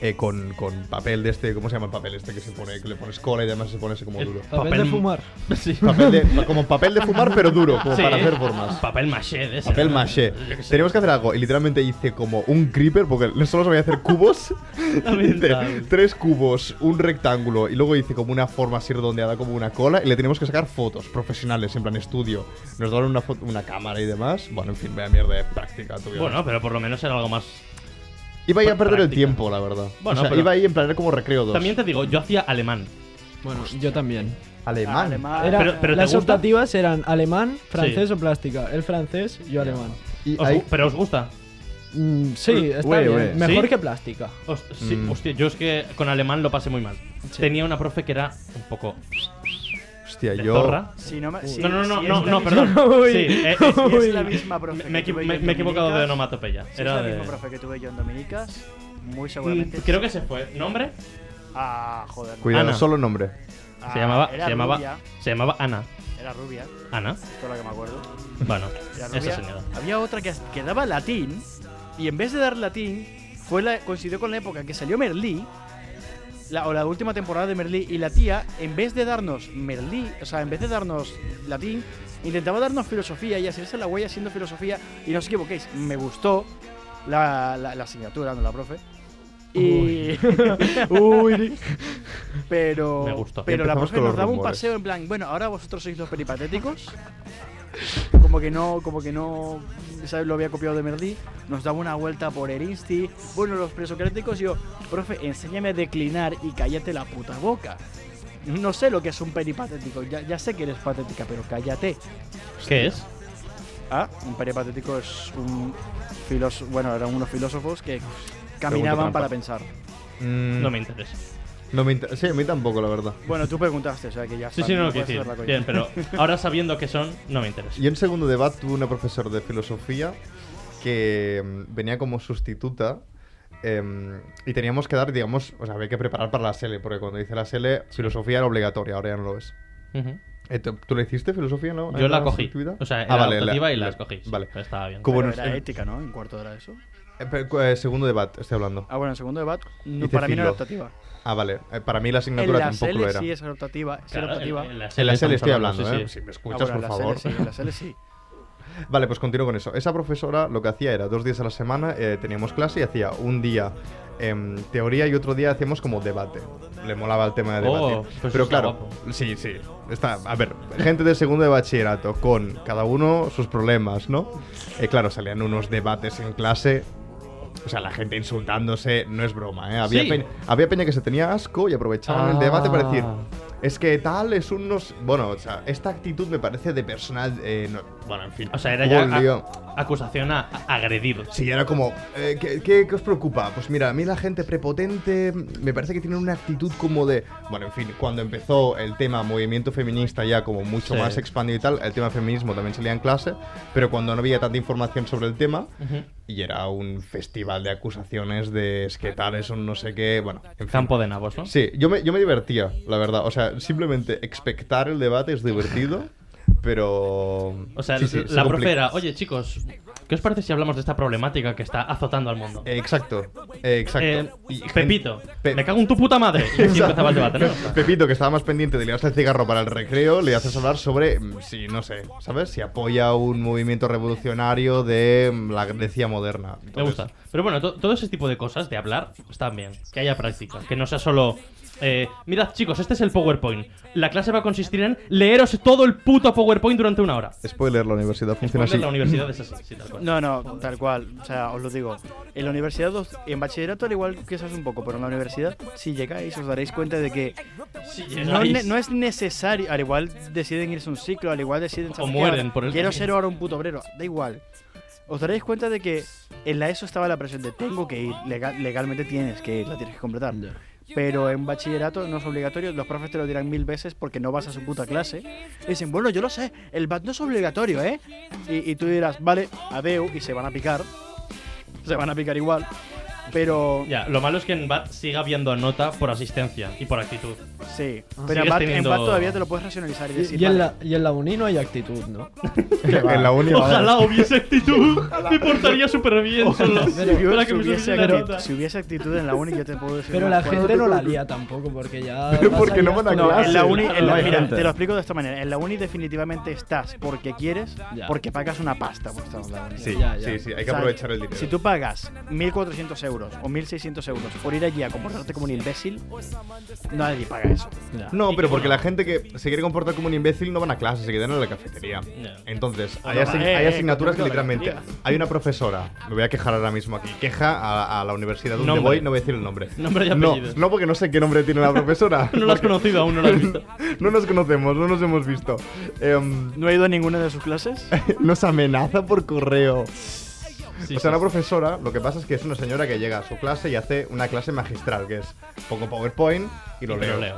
eh, con, con papel de este, ¿cómo se llama el papel este que se pone? Que le pones cola y además se pone ese como
El
duro.
Papel de fumar.
Sí.
Papel de- como papel de fumar, pero duro, como
Sí.
para hacer formas.
Papel maché de ese.
Papel maché.
Yo qué sé.
Teníamos que hacer algo. Y literalmente hice como un creeper, porque solo sabía hacer cubos. Hice tres cubos, un rectángulo, y luego hice como una forma así redondeada, como una cola. Y le teníamos que sacar fotos profesionales, en plan estudio. Nos daban una, fo- una cámara y demás. Bueno, en fin, vaya mierda de práctica tuvimos.
Bueno, pero por lo menos era algo más.
iba ahí a perder el
práctica.
tiempo, la verdad.
Bueno,
o sea,
pero-
iba ahí en plan era como recreo dos.
También te digo, yo hacía alemán.
Bueno, yo también.
Alemán.
Alemán.
Era-
Pero- pero ¿te
las
gusta?
optativas eran alemán, francés o plástica. El francés, yo alemán.
Y
Os-
ahí-
pero os gusta.
Mm, sí, está
Ué,
bien.
ué.
Mejor
¿Sí?
que plástica.
Os- sí,
Mm.
hostia, yo es que con alemán lo pasé muy mal. Tenía una profe que era un poco
hostia,
de
yo.
zorra.
Si no, me- si-
no, no, no,
si
no,
es la
no,
misma-
perdón.
Uy.
Sí, eh, eh,
si es la
Uy.
misma profe.
me,
que
equi-
tuve
me-
yo en
me he equivocado de
Dominicas,
onomatopeya.
Si es
Era
la
de...
misma profe que tuve yo en Dominicas, muy
Mm,
seguramente.
Creo que se fue. ¿Nombre?
Ah, joder. no.
Cuidado,
Ana.
solo nombre.
Ah,
se llamaba, se
Era
llamaba,
Rubia,
se llamaba Ana.
era rubia,
Ana.
todo lo que me acuerdo.
Bueno,
Era
esa
rubia.
señora.
Había otra que, que daba latín, y en vez de dar latín, fue la, coincidió con la época que salió Merlí, la, o la última temporada de Merlí, y la tía, en vez de darnos Merlí, o sea, en vez de darnos latín, intentaba darnos filosofía y hacerse la huella haciendo filosofía, y no os equivoquéis, me gustó la, la- la asignatura, no la profe. Y...
Uy,
Pero,
Me gustó.
pero la
Empezamos
profe
con
nos
los
daba un
rumores.
paseo en plan, bueno, ahora vosotros sois los peripatéticos. Como que no, como que no, ¿sabes? Lo había copiado de Merlí. Nos daba una vuelta por Erinsti. Bueno, los presocráticos. y Yo, profe, enséñame a declinar y cállate la puta boca. No sé lo que es un peripatético. Ya, ya sé que eres patética, pero cállate.
¿Qué es?
Ah, un peripatético es un filósofo. Bueno, eran unos filósofos que caminaban
trampa.
para pensar.
Mm,
No me interesa.
no me inter- Sí, a mí tampoco, la verdad.
Bueno, tú preguntaste, o sea que ya
Sí,
está,
sí, no lo
puedes
quiero
hacer la
decir.
coña.
Bien, pero ahora sabiendo qué son, no me interesa.
Yo en segundo de BAT tuve una profesora de filosofía que mm, venía como sustituta em, y teníamos que dar, digamos, o sea, había que preparar para la SL, porque cuando hice la SL, filosofía era obligatoria, ahora ya no lo es.
Ujú.
Eh, ¿Tú tú la hiciste filosofía? No?
Yo
¿En
la cogí.
selectividad?
O sea, era
Ah, vale,
optativa y la escogí. sí,
Vale.
pero estaba bien.
Como
Pero
nos-
era
en-
ética, ¿no? En cuarto era eso.
eh, pero, cu- eh, segundo de BAT, estoy hablando.
Ah, bueno, en segundo de BAT, no,
Hice
para mí no era
filo.
optativa.
Ah, vale. eh, para mí la
En
asignatura
la
tampoco lo
SL
era.
sí es optativa. Sí era
Claro,
optativa.
en, en la
En la
SL
SL estoy
estamos
hablando, ¿eh?
sí,
Si
sí.
me
Ah,
escuchas,
bueno, en
por
la
favor.
SL sí, en la SL sí.
Vale, pues continúo con eso. Esa profesora lo que hacía era dos días a la semana eh, teníamos clase y hacía un día em, teoría y otro día hacíamos como debate. Le molaba el tema de
Oh,
debate.
pues eso
Pero
está
claro,
guapo.
sí, sí. Está, a ver, gente de segundo de bachillerato con cada uno sus problemas, ¿no? Eh, claro, salían unos debates en clase. O sea, la gente insultándose, no es broma, ¿eh? Había,
Sí.
peña, había peña que se tenía asco y aprovechaban el debate para
Ah.
decir, es que tal es unos... Bueno, o sea, esta actitud me parece de personal... eh, no- Bueno, en fin.
O sea, era
hubo
ya
un
a-
lío.
acusación a, a agredir.
Sí, era como, eh, ¿qué, qué, qué os preocupa? Pues mira, a mí la gente prepotente me parece que tiene una actitud como de... Bueno, en fin, cuando empezó el tema movimiento feminista ya como mucho
Sí.
más expandido y tal, el tema feminismo también salía en clase, pero cuando no había tanta información sobre el tema,
Ujú.
y era un festival de acusaciones de es que tal, es un no sé qué, bueno, en fin.
Campo de nabos, ¿no?
Sí, yo me, yo me divertía, la verdad. O sea, simplemente expectar el debate es divertido, pero...
O sea,
sí, sí, se
la
complica.
profe era, oye chicos, ¿qué os parece si hablamos de esta problemática que está azotando al mundo?
Eh, Exacto, eh, exacto.
Eh,
Y gente-
Pepito,
Pe-
me cago en tu puta madre. Y así empezaba el debate. ¿no?
Pepito, que estaba más pendiente de liarse el cigarro para el recreo, le haces hablar sobre mm, si, no sé, ¿sabes? Si apoya un movimiento revolucionario de mm, la Grecia moderna.
Me
Entonces,
gusta. Pero bueno, to- todo ese tipo de cosas de hablar están bien. Que haya práctica. Que no sea solo eh, mirad chicos, este es el PowerPoint. La clase va a consistir en leeros todo el puto PowerPoint durante una hora.
Spoiler, la universidad funciona
Spoiler,
así.
La universidad es así, sí, tal cual.
No, no, tal cual. O sea, os lo digo. En la universidad, os- en bachillerato, al igual que un poco, pero en la universidad, si llegáis, os daréis cuenta de que
Sí,
no,
ahí
ne-
sí.
no es necesario. Al igual deciden irse a un ciclo, al igual deciden. ¿sabes qué?
mueren por el
Quiero
camino.
ser ahora un puto obrero. Da igual. Os daréis cuenta de que en la ESO estaba la presión de tengo que ir, legal- legalmente tienes que ir, la tienes que completar. Pero en bachillerato no es obligatorio, los profes te lo dirán mil veces porque no vas a su puta clase. Y dicen, bueno, yo lo sé, el BAT no es obligatorio, ¿eh? Y, y tú dirás, vale, adeu, y se van a picar. Se van a picar igual. Pero
Ya, lo malo es que en BAT siga habiendo nota por asistencia y por actitud.
sí, pero en
Ah, Sigues
BAT, en
teniendo-
BAT todavía te lo puedes racionalizar y
Y,
decir,
y en
vale,
la, y en la uni no hay actitud, ¿no?
en la uni.
Ojalá hubiese actitud, me portaría súper bien solo.
si, hubiese-
Para que
si
me
hubiese
subiese la
actitud,
nota.
si hubiese actitud en la uni, yo te puedo decir.
Pero
unas
la
cuantas-
gente no la lía tampoco, porque ya.
Pero
vas
porque
ahí
no van a
hasta-
No, en la
clase.
uni, en la-
No hay
mira,
gente.
te lo explico de esta manera. En la uni definitivamente estás porque quieres,
Ya.
porque pagas una pasta por estar en la uni.
Sí,
Ya, ya.
sí, sí, hay que
O sea,
aprovechar el dinero.
Si tú pagas 1.400 euros o 1.600 euros por ir allí a comportarte como un imbécil, nadie paga eso.
No,
Y
pero
que
porque
bueno.
la gente que se quiere comportar como un imbécil no van a clase, se quedan en la cafetería.
Ya.
Entonces,
O
hay,
no
asi-
van.
hay
Eh, eh,
asignaturas que
control de la
literalmente.
cafetería.
Hay una profesora, me voy a quejar ahora mismo aquí, queja a, a la universidad donde
Nombre.
voy, no voy a decir el nombre.
Nombre y
no,
apellido.
no, porque no sé qué nombre tiene la profesora.
No lo has conocido aún, no lo has visto.
no nos conocemos, no nos hemos visto. Em,
No he ido a ninguna de sus clases.
nos amenaza por correo.
Sí,
o sea,
sí.
una profesora, lo que pasa es que es una señora que llega a su clase y hace una clase magistral, que es pongo PowerPoint y lo
Y te
leo.
lo leo.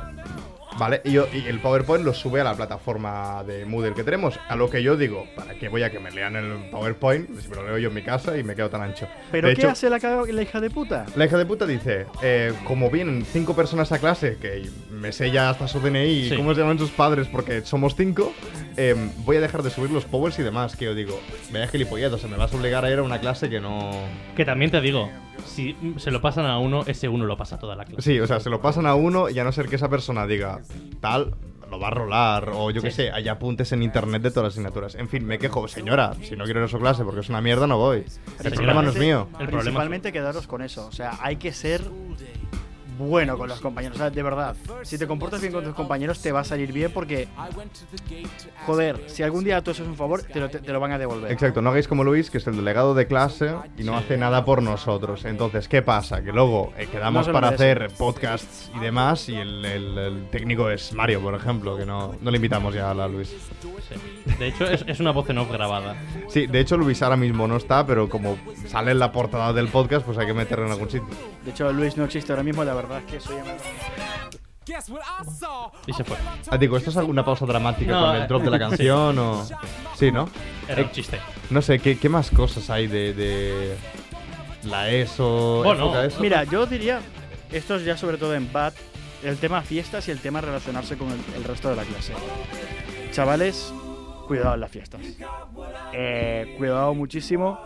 Vale, y, yo- y el PowerPoint lo sube a la plataforma de Moodle que tenemos. A lo que yo digo, ¿para qué voy a que me lean el PowerPoint? Si me lo leo yo en mi casa y me quedo tan ancho.
¿Pero
De
qué
hecho,
hace la, ca- la hija de puta?
La hija de puta dice, eh, como vienen cinco personas a clase, que me sé ya hasta su DNI
Sí.
y cómo se llaman sus padres porque somos cinco, eh, voy a dejar de subir los powers y demás, que yo digo, vaya gilipollas, o sea, me vas a obligar a ir a una clase que no...
Que también te digo, si mm, se lo pasan a uno, ese uno lo pasa a toda la clase.
Sí, o sea, se lo pasan a uno y a no ser que esa persona diga tal, lo va a rolar o yo qué
Sí.
sé, hay apuntes en internet de todas las asignaturas. En fin, me quejo, señora, si no quiero ir a su clase porque es una mierda, no voy. El
Señora,
problema no es
sí.
mío.
El problema-
Principalmente quedaros con eso. O sea, hay que ser bueno con los compañeros. O sea, de verdad, si te comportas bien con tus compañeros, te va a salir bien porque, joder, si algún día tú haces un favor, te lo, te- te lo van a devolver.
Exacto, no hagáis como Luis, que es el delegado de clase y no
Sí.
hace nada por nosotros. Entonces, ¿qué pasa? Que luego eh,
No
quedamos
se lo
para
merece.
hacer podcasts y demás y el, el- el técnico es Mario, por ejemplo, que no, no le invitamos ya a la Luis.
Sí. De hecho, es, es una voz en off grabada.
Sí, de hecho Luis ahora mismo no está, pero como sale en la portada del podcast, pues hay que meterlo en algún sitio.
De hecho, Luis no existe ahora mismo. La verdad es que soy amado.
Y se fue.
Ah, digo, ¿esto es alguna pausa dramática
No,
con
eh,
el drop de la
sí.
canción o...? Sí, ¿no?
Era un chiste.
No sé, ¿qué, qué más cosas hay de, de la ESO,
Bueno,
época ESO?
Mira, yo diría, esto es ya sobre todo en BAT, el tema fiestas y el tema relacionarse con el, el resto de la clase. Chavales, cuidado en las fiestas. Eh, cuidado muchísimo.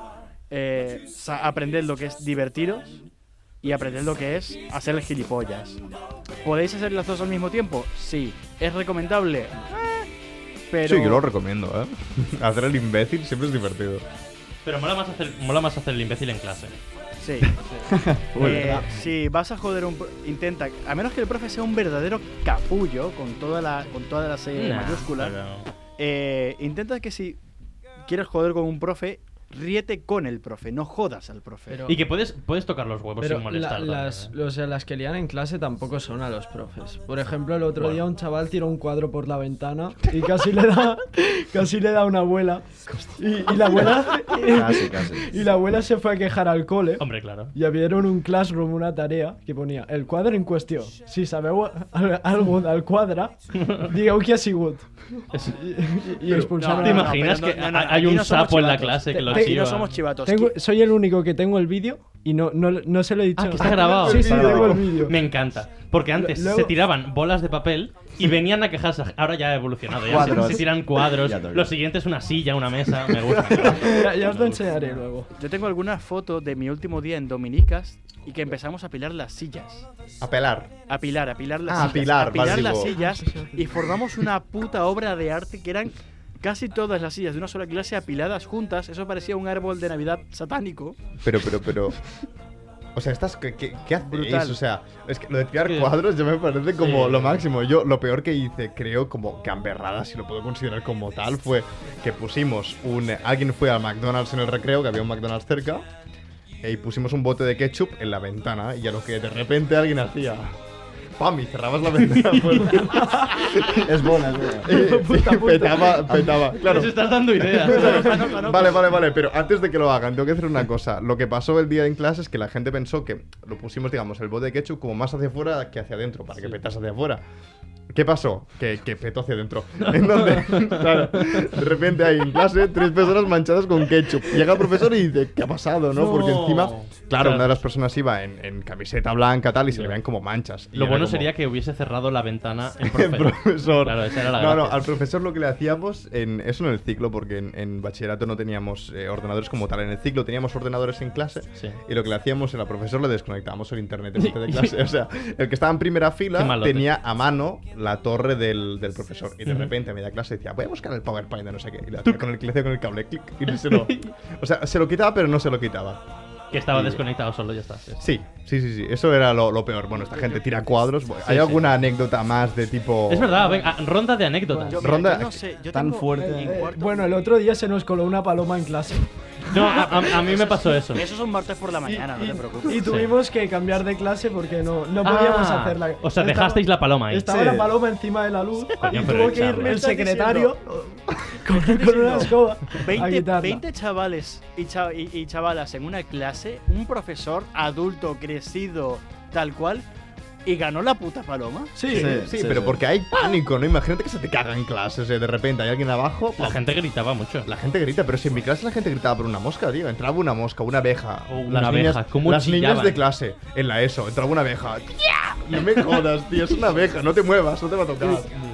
Eh, sa- aprended lo que es divertiros y aprended lo que es hacer gilipollas. ¿Podéis hacer las dos al mismo tiempo? Sí. ¿Es recomendable? Eh, pero...
Sí, yo lo recomiendo, ¿eh? Hacer el imbécil siempre es divertido.
Pero mola más hacer, mola más hacer el imbécil en clase.
Sí. Eh, si vas a joder un pro- intenta, a menos que el profe sea un verdadero capullo con toda la con toda la C
Nah,
mayúscula,
pero-
eh, intenta que si quieres joder con un profe, ríete con el profe, no jodas al profe.
Pero-
Y que puedes, puedes tocar los huevos
Pero
sin
la-
molestar. también,
las,
¿eh?
o sea, las que lían en clase tampoco son a los profes. Por ejemplo, el otro
Bueno.
día un chaval tiró un cuadro por la ventana y casi le da, casi le da una abuela. Y, y la abuela
Casi, casi.
y la abuela se fue a quejar al cole.
¿eh? Hombre, claro.
Y abrieron un classroom, una tarea que ponía el cuadre en cuestión. Si sabeu al- algo del quadre, digueu qui ha sigut. I, i, i expulsaron
¿Te
a-
imaginas
pero no,
que
no, no,
hay
aquí
un
no somos
sapo en la
chivatos.
clase que lo
Aquí
chiva?
no somos chivatos.
Tengo-
que-
soy el único que tengo el vídeo y no, no, no se lo he dicho.
Ah, que está grabado.
Sí, sí,
Está
tengo el
grabado.
vídeo.
Me encanta. Porque antes
Luego-
se tiraban bolas de papel y venían a quejarse. Ahora ya ha evolucionado. Ya se-
Cuadros.
Se, tiran cuadros.
Ya te digo.
Lo siguiente es una silla, una mesa. Me gusta.
Ya, ya os lo enseñaré luego.
Yo tengo alguna foto de mi último día en Dominicas y que empezamos a apilar las sillas.
Apelar.
Apilar, apilar las
Ah,
sillas.
apilar,
apilar
vale,
las
digo.
Ah,
sillas y formamos una puta obra de arte que eran casi todas las sillas de una sola clase apiladas juntas. Eso parecía un árbol de Navidad satánico.
Pero, pero, pero. O sea, estas, ¿qué, qué, qué hacéis?
Brutal.
O sea, es que lo de tirar
Sí.
cuadros ya me parece como
Sí.
lo máximo. Yo lo peor que hice, creo, como gamberrada, si lo puedo considerar como tal, fue que pusimos un... Alguien fue al McDonald's en el recreo, que había un McDonald's cerca, e- y pusimos un bote de ketchup en la ventana, y a lo que de repente alguien hacía... ¡Pam! Y cerrabas la ventana. por
Es buena, es buena.
Petaba, petaba. Claro.
Les estás dando ideas.
Vale, vale, vale, pero antes de que lo hagan, tengo que hacer una cosa. Lo que pasó el día en clase es que la gente pensó que lo pusimos, digamos, el bote de ketchup como más hacia afuera que hacia adentro, para que petase hacia afuera. ¿Qué pasó? Que, que petó hacia adentro. Entonces, claro, de repente hay en clase tres personas manchadas con ketchup. Llega el profesor y dice, ¿qué ha pasado? ¿no? Porque
No.
encima, claro,
Claro.
una de las personas iba en, en camiseta blanca tal y se le veían como manchas. Y
Lo
era
bueno
como-
sería que hubiese cerrado la ventana en
el
profe.
profesor.
Claro, esa era la
no, no,
gracia.
al profesor lo que le hacíamos, en, eso en el ciclo, porque en, en bachillerato no teníamos eh, ordenadores como tal. En el ciclo teníamos ordenadores en clase
Sí.
y lo que le hacíamos era al profesor le desconectábamos el internet en mitad de clase. O sea, el que estaba en primera
Qué
fila
malote.
tenía a mano la torre del, del profesor y de repente a media clase decía, voy a buscar el PowerPoint de no sé qué. Y le hacía con el, le hacía con el cable, clic, y se lo... O sea, se lo quitaba, pero no se lo quitaba.
Que estaba
Y-
desconectado solo, ya está. sí.
Sí, sí, sí, sí. Eso era lo, lo peor. Bueno, esta gente tira cuadros. Bueno, ¿Hay
sí.
alguna anécdota más de tipo.
Es verdad, venga, ah, ronda de anécdotas.
Yo,
Ronda-
yo no sé, yo
Tan
tengo-
fuerte.
en cuarto-
Eh, Bueno, el otro día se nos coló una paloma en clase
No, a, a- a mí me pasó eso.
Eso es un martes por la mañana, no te preocupes.
y tuvimos que cambiar de clase porque no, no podíamos
Ah,
hacerla.
O sea, dejasteis la paloma ahí.
Estaba
Sí.
la paloma encima de la luz
Coño,
y
pero
tuvo
el
que ir
chaval.
el
¿Estás
secretario con,
¿Estás
con
diciendo?
una escoba a
20,
quitarla.
20 chavales y, cha- y- y chavalas en una clase, un profesor adulto, crecido, tal cual, y ganó la puta paloma.
Sí,
Sí, pero
sí.
porque hay pánico, ¿no? Imagínate que se te cagan clases, ¿eh? de repente hay alguien abajo.
La
¡pam!
gente gritaba mucho.
La gente grita, pero si en mi clase la gente gritaba por una mosca, tío. Entraba una mosca, una abeja.
Oh, una
las
abeja,
niñas,
¿cómo
Las niñas
chillaban?
de clase, en la ESO, entraba una abeja. ¡Ya! No me jodas, tío, es una abeja, no te muevas, no te va a tocar.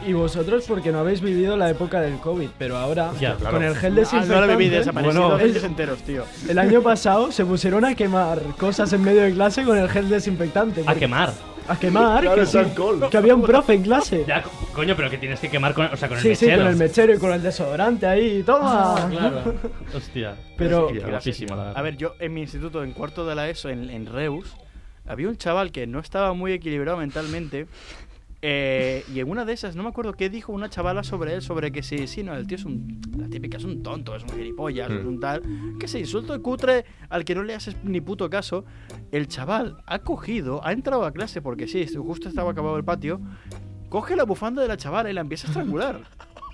Y vosotros porque no habéis vivido la época del COVID, pero ahora
Ya, claro.
con el gel
Ah,
desinfectante...
no la viví desaparecido
Bueno,
meses
el,
enteros, tío.
el año pasado se pusieron a quemar cosas en medio de clase con el gel desinfectante.
A
porque-
quemar.
A quemar,
Claro,
que,
es
sí,
alcohol.
que había un profe en clase.
Ya, co- coño, pero que tienes que quemar con, o sea, con el
sí, sí,
mechero. Ah,
con el mechero y con el desodorante ahí, toma.
Claro. Hostia.
Pero
Qué
guapísimo, la verdad.
A ver, yo en mi instituto, en cuarto de la ESO, en, en Reus, había un chaval que no estaba muy equilibrado mentalmente. eh, y en una de esas, no me acuerdo qué dijo una chavala sobre él, sobre que sí, sí, no, el tío es un. La típica es un tonto, es un gilipollas,
Mm.
es un tal. Que se insulto cutre al que no le haces ni puto caso. El chaval ha cogido, ha entrado a clase porque sí, justo estaba acabado el patio. Coge la bufanda de la chavala y la empieza a estrangular.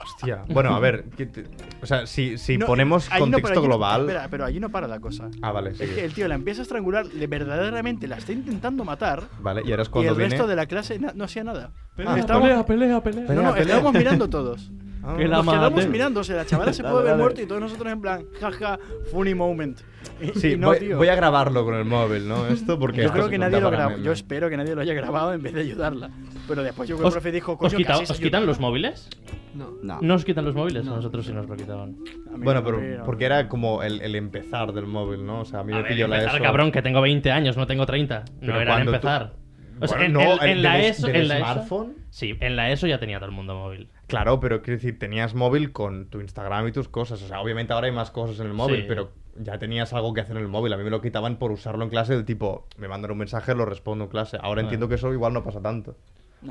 Hostia. Bueno, a ver, ¿qué te- o sea, si, si
No,
ponemos
ahí no, pero
contexto
allí no-
global.
espera, pero allí no para la cosa.
ah, vale, sí.
Es que el tío la empieza a estrangular, le- verdaderamente la está intentando matar.
Vale, y ahora es
Y
cuando
el
viene.
resto de la clase na- no hacía nada.
Pelea,
Ah,
estábamos,
pelea, pelea.
no, no, estábamos mirando todos.
Ah.
Que la
Nos quedamos
maten.
mirándose, la chavala se
Dale,
puede ver
dale.
muerto y todos nosotros en plan, jaja, funny moment. Y,
Sí,
y no,
voy,
tío.
voy a grabarlo con el móvil, ¿no? Esto porque.
yo
esto
creo
se
que
cuenta
nadie lo
para
grabó.
meme.
Yo espero que nadie lo haya grabado en vez de ayudarla. Pero después yo creo que el
¿Os,
profe dijo,
os
coño,
quita-
casi se
os quitan
ayuda".
los móviles?
No.
No os quitan los móviles, a nosotros sí nos lo quitaban.
A mí
Bueno,
no, a mí
pero
no.
porque era como el, el empezar del móvil, ¿no? O sea, a mí
A
me
ver,
pilló la
empezar,
ESO.
cabrón, que tengo 20 años, no tengo 30.
Pero
no era el
cuando tú-
empezar. O sea,
Bueno,
en, en-
no,
en
el
la
del-
ESO.
del
en la ESO-
smartphone.
sí, en la ESO ya tenía todo el mundo móvil.
Claro, pero quiero decir, tenías móvil con tu Instagram y tus cosas. O sea, obviamente ahora hay más cosas en el móvil,
Sí.
pero ya tenías algo que hacer en el móvil. A mí me lo quitaban por usarlo en clase del tipo, me mandan un mensaje, lo respondo en clase.
Ah.
Ahora entiendo que eso igual no pasa tanto.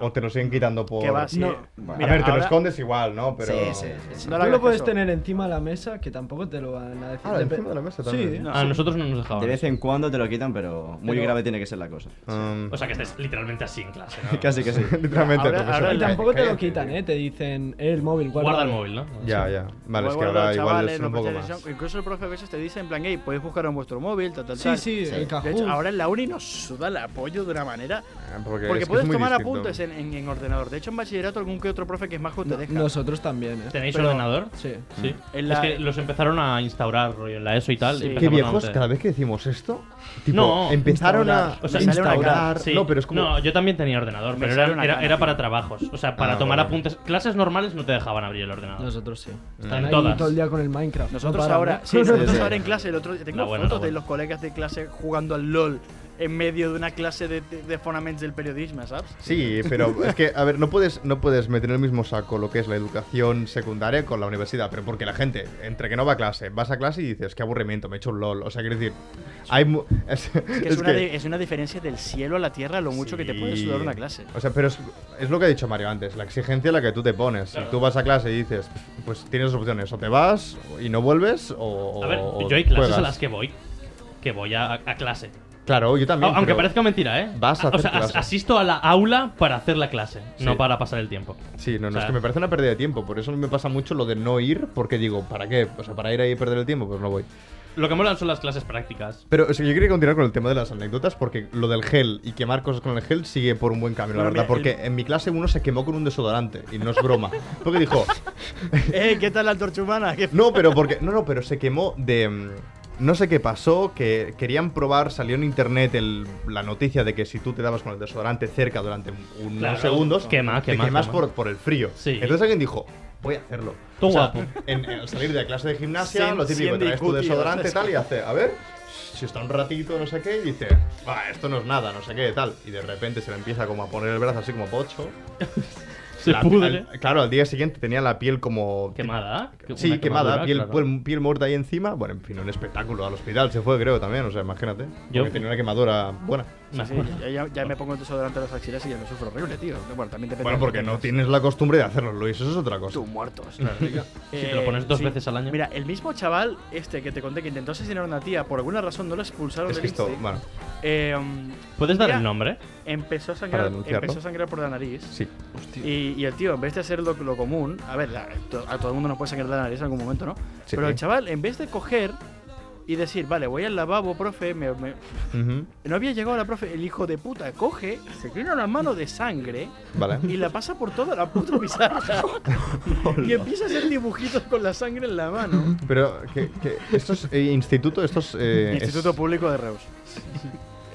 O te lo siguen quitando por...
Que va, sí.
No.
A
Mira,
ver, te lo
ahora-
escondes igual, ¿no? Pero...
Sí, sí, sí.
no le
Tú
hagas
lo puedes
caso.
tener encima de la mesa, que tampoco te lo van a decir.
Ah,
Depe-
encima de la mesa
Sí.
también. ¿eh?
No,
a
sí.
nosotros no nos dejaban.
De vez en cuando te lo quitan, pero muy
Pero-
grave tiene que ser la cosa.
Um,
O sea, que estés literalmente así en clase. ¿no?
Casi que sí.
literalmente.
Ahora-
profesor,
ahora-
Y tampoco te lo
cállate.
quitan, ¿eh? Te dicen, "Eh, el móvil, guarda,
Guarda el móvil, ¿no?
Ya,
Sí.
ya. Vale,
Igual
es que
guarda,
ahora igual
chavales,
es
no
un poco
prestéis
más.
atención. Incluso el profe a veces te dice en plan, hey, podéis buscar en vuestro móvil, tal, tal,
Sí,
tal.
sí, el
De
Kahoot.
hecho, ahora en la uni nos suda el apoyo de una manera.
Ah, Porque,
Porque
es que
puedes
es muy
tomar
distinto.
apuntes eh. en, en- en ordenador. De hecho, en bachillerato algún que otro profe que es majo te deja.
Nosotros también, ¿eh?
¿Tenéis
Pero-
ordenador?
Sí.
Sí.
En la-
Es que los empezaron a instaurar rollo en la ESO y tal.
Sí.
y
Qué
empezamos
viejos,
antes.
cada vez que decimos esto, tipo,
No,
empezaron a
instaurar. O sea, sale una
instaurar.
cara.
Sí.
No, pero es como.
No, yo también tenía ordenador,
Me
pero
sale
era,
una
era-
cara,
era
tío.
para trabajos. O sea, para
Ah,
tomar
vale.
apuntes. Clases normales no te dejaban abrir el ordenador.
Nosotros sí.
En
Están ahí
todas.
todo el día con el Minecraft.
Nosotros
no paran,
ahora,
¿eh?
sí, nosotros
Sí, sí.
ahora en clase, el otro día tengo
La buena,
fotos
la
de
buena.
los colegas de clase jugando al LOL. en medio de una clase de, de, de fonaments del periodisme, saps?
Sí, pero es que, a ver, no puedes, no puedes meter en el mismo saco lo que es la educación secundaria con la universidad, pero porque la gente, entre que no va a clase, vas a clase y dices, qué aburrimiento, me he hecho un LOL. O sea, quiero decir, hay. mu- Es,
Es, que es,
es
una,
que-
di- es una diferencia del cielo a la tierra lo mucho que te puede
Sí.
sudar una clase.
O sea, pero es, es lo que ha dicho Mario antes, la exigencia a la que tú te pones. Si tú vas a clase y dices, pues tienes dos opciones, o te vas y no vuelves, o.
A ver,
o
yo hay clases
juegas.
a las que voy. Que voy a, a clase.
Claro, yo también.
Au- Aunque
pero-
parezca mentira, ¿eh?
vas a
o
hacer
sea, as-
clase.
asisto a la aula para hacer la clase,
Sí.
no para pasar el tiempo.
Sí, no, no,
O sea,
es que me parece una pérdida de tiempo. Por eso me pasa mucho lo de no ir, porque digo, ¿para qué? O sea, para ir ahí y perder el tiempo, pues no voy.
Lo que molan son las clases prácticas.
Pero o sea, yo quería continuar con el tema de las anécdotas, porque lo del gel y quemar cosas con el gel sigue por un buen camino, la
Bueno,
verdad.
mira,
porque
el-
en mi clase uno se quemó con un desodorante, y no es broma. Porque dijo,
¡Eh, qué tal la antorcha humana! ¿Qué
no, pero porque. No, no, pero se quemó de. mm, No sé qué pasó, que querían probar, salió en internet el- la noticia de que si tú te dabas con el desodorante cerca durante unos
Claro,
segundos,
quema,
te
quema,
quemas
quema.
Por, por el frío.
Sí.
Entonces alguien dijo, voy a hacerlo.
Tú
O sea,
guapo.
en- en- al salir de clase de gimnasia,
Cien-
lo típico,
cien de
traes tu
IQ, tío.
desodorante y tal, y hace, a ver, si está un ratito, no sé qué, y dice, va, esto no es nada, no sé qué, tal. Y de repente se le empieza como a poner el brazo así como pocho.
Se
La-
pudre.
al- claro, al día siguiente tenía la piel como
Quemada. ¿eh?
Sí,
Una
quemada,
quemadura,
piel,
claro.
piel, piel muerta ahí encima. Bueno, en fin, un espectáculo. Al hospital se fue, creo, también. O sea, imagínate.
Yo-
Porque tenía una quemadura buena.
Me
Sí,
acuerdo.
ya, ya- ya me pongo el desodorante a las axilas y ya me sufro horrible, tío. Bueno, también depende
Bueno,
de
porque
que
no
tengas.
tienes la costumbre de hacerlo, Luis. Eso es otra cosa.
Tú muertos.
Si te lo pones dos veces al año.
Eh, Mira, el mismo chaval este que te conté que intentó asesinar a una tía, por alguna razón no lo expulsaron
Es
del
que esto,
Insti,
bueno,
eh, um,
¿Puedes dar
Mira,
el nombre?
Empezó a sangrar,
denunciarlo.
empezó a sangrar por la nariz.
sí.
Y, y el tío, en vez de hacer lo, lo común, a ver, la- to- a todo el mundo nos puede sangrar la nariz en algún momento, ¿no?
Sí.
Pero el chaval, en vez de coger y decir, vale, voy al lavabo, profe, me- me-
Ujú.
no había llegado la profe, el hijo de puta coge, se tiene una mano de sangre
Vale.
y la pasa por toda la puta pizarra. y empieza a hacer dibujitos con la sangre en la mano.
Pero, que, que- esto es eh, instituto, esto es. eh,
Instituto
es-
Público de Reus.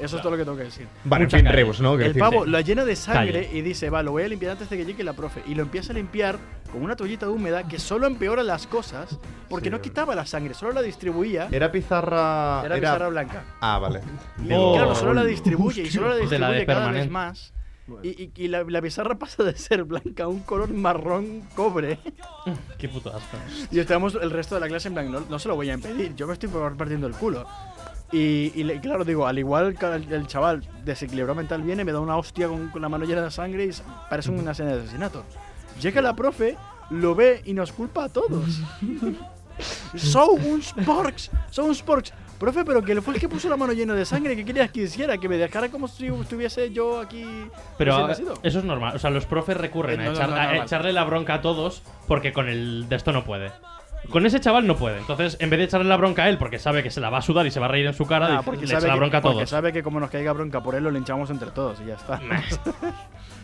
Eso es todo lo que tengo que decir.
Vale, en
Mucha
fin,
calle.
Rebus, ¿no? Quiero
El
decir,
pavo
sí.
la llena de sangre
Calle.
y dice, va, lo voy a limpiar antes de que llegue la profe. Y lo empieza a limpiar con una toallita húmeda que solo empeora las cosas porque
Sí.
no quitaba la sangre, solo la distribuía. Era,
Era pizarra.
pizarra blanca.
Ah, vale.
Y
Oh.
claro, solo la distribuye y solo la
Hostia. De
distribuye
la de
cada vez
permanente.
más. Y, y- y la, la pizarra pasa de ser blanca a un color marrón cobre.
Qué puto asco.
Y estamos el resto de la clase en blanco. No, no se lo voy a impedir, yo me estoy partiendo el culo. Y, y le- claro, digo, al igual que el, el chaval desequilibrado mental viene, me da una hostia con, con la mano llena de sangre y s- parece una escena de asesinato. Llega la profe, lo ve y nos culpa a todos. ¡Son un Sporks! ¡Son un Sporks! Profe, pero que fue el que puso la mano llena de sangre, ¿qué querías que hiciera? Que me dejara como si estuviese yo aquí.
Pero
recién
ah,
nacido?
eso es normal. O sea, los profes recurren
Eh,
a,
no, no,
echar-
no,
a
normal.
echarle la bronca a todos porque con el de esto no puede. Con ese chaval no puede. Entonces, en vez de echarle la bronca a él porque sabe que se la va a sudar y se va a reír en su cara,
Ah,
dice,
porque,
le
sabe
echa la
que-
bronca a
porque
todos.
sabe que como nos caiga bronca por él, lo linchamos entre todos y ya está.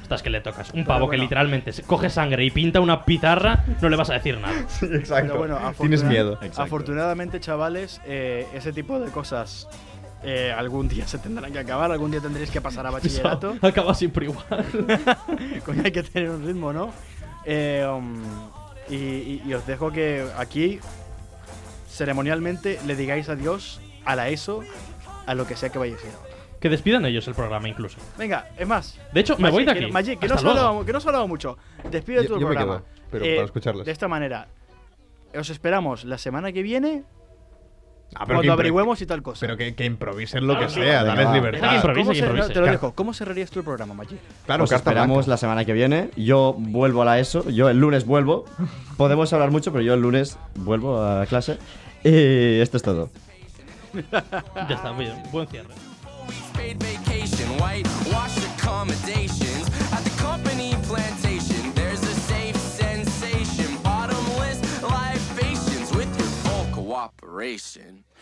Estás que le tocas. Un pavo que
bueno.
literalmente se- coge sangre y pinta una pizarra, no le vas a decir nada.
Sí, exacto.
Pero bueno,
Tienes
afortuna-
miedo.
Exacto.
Afortunadamente, chavales, eh, ese tipo de cosas eh, algún día se tendrán que acabar, algún día tendréis que pasar a bachillerato.
Eso Acaba siempre igual.
Coño, hay que tener un ritmo, ¿no? Eh, um, y, y- y os dejo que aquí, ceremonialmente, le digáis adiós a la ESO, a lo que sea que vayáis a ir ahora.
Que despidan ellos el programa incluso.
Venga, es más.
De hecho, me
Magic,
voy de
que no-
aquí.
Magic, que no,
Hasta
has hablado,
luego.
que no has hablado mucho. Despide
Yo-
tu
yo me
programa. Eh,
quedo, pero para escucharles.
De esta manera, os esperamos la semana que viene
Ah, pero que
cuando
impro-
averigüemos y tal cosa.
Pero que, que improvisen lo
Ah,
que
sí.
sea,
Venga,
dales
va.
Deja que
libertad.
improvisen. improvisa,
¿Cómo se-
improvisa.
Te lo
Car-
dejo. ¿Cómo cerrarías tu programa, Maggi?
Claro,
Os
carta
Pues esperamos
blanca.
la semana que viene. Yo vuelvo a la ESO. Yo el lunes vuelvo. Podemos hablar mucho, pero yo el lunes vuelvo a clase. Y esto es todo.
Ya está, bien. Buen cierre.
weeks paid vacation, white wash accommodations at the company plantation. There's a safe sensation, bottomless libations with your full cooperation.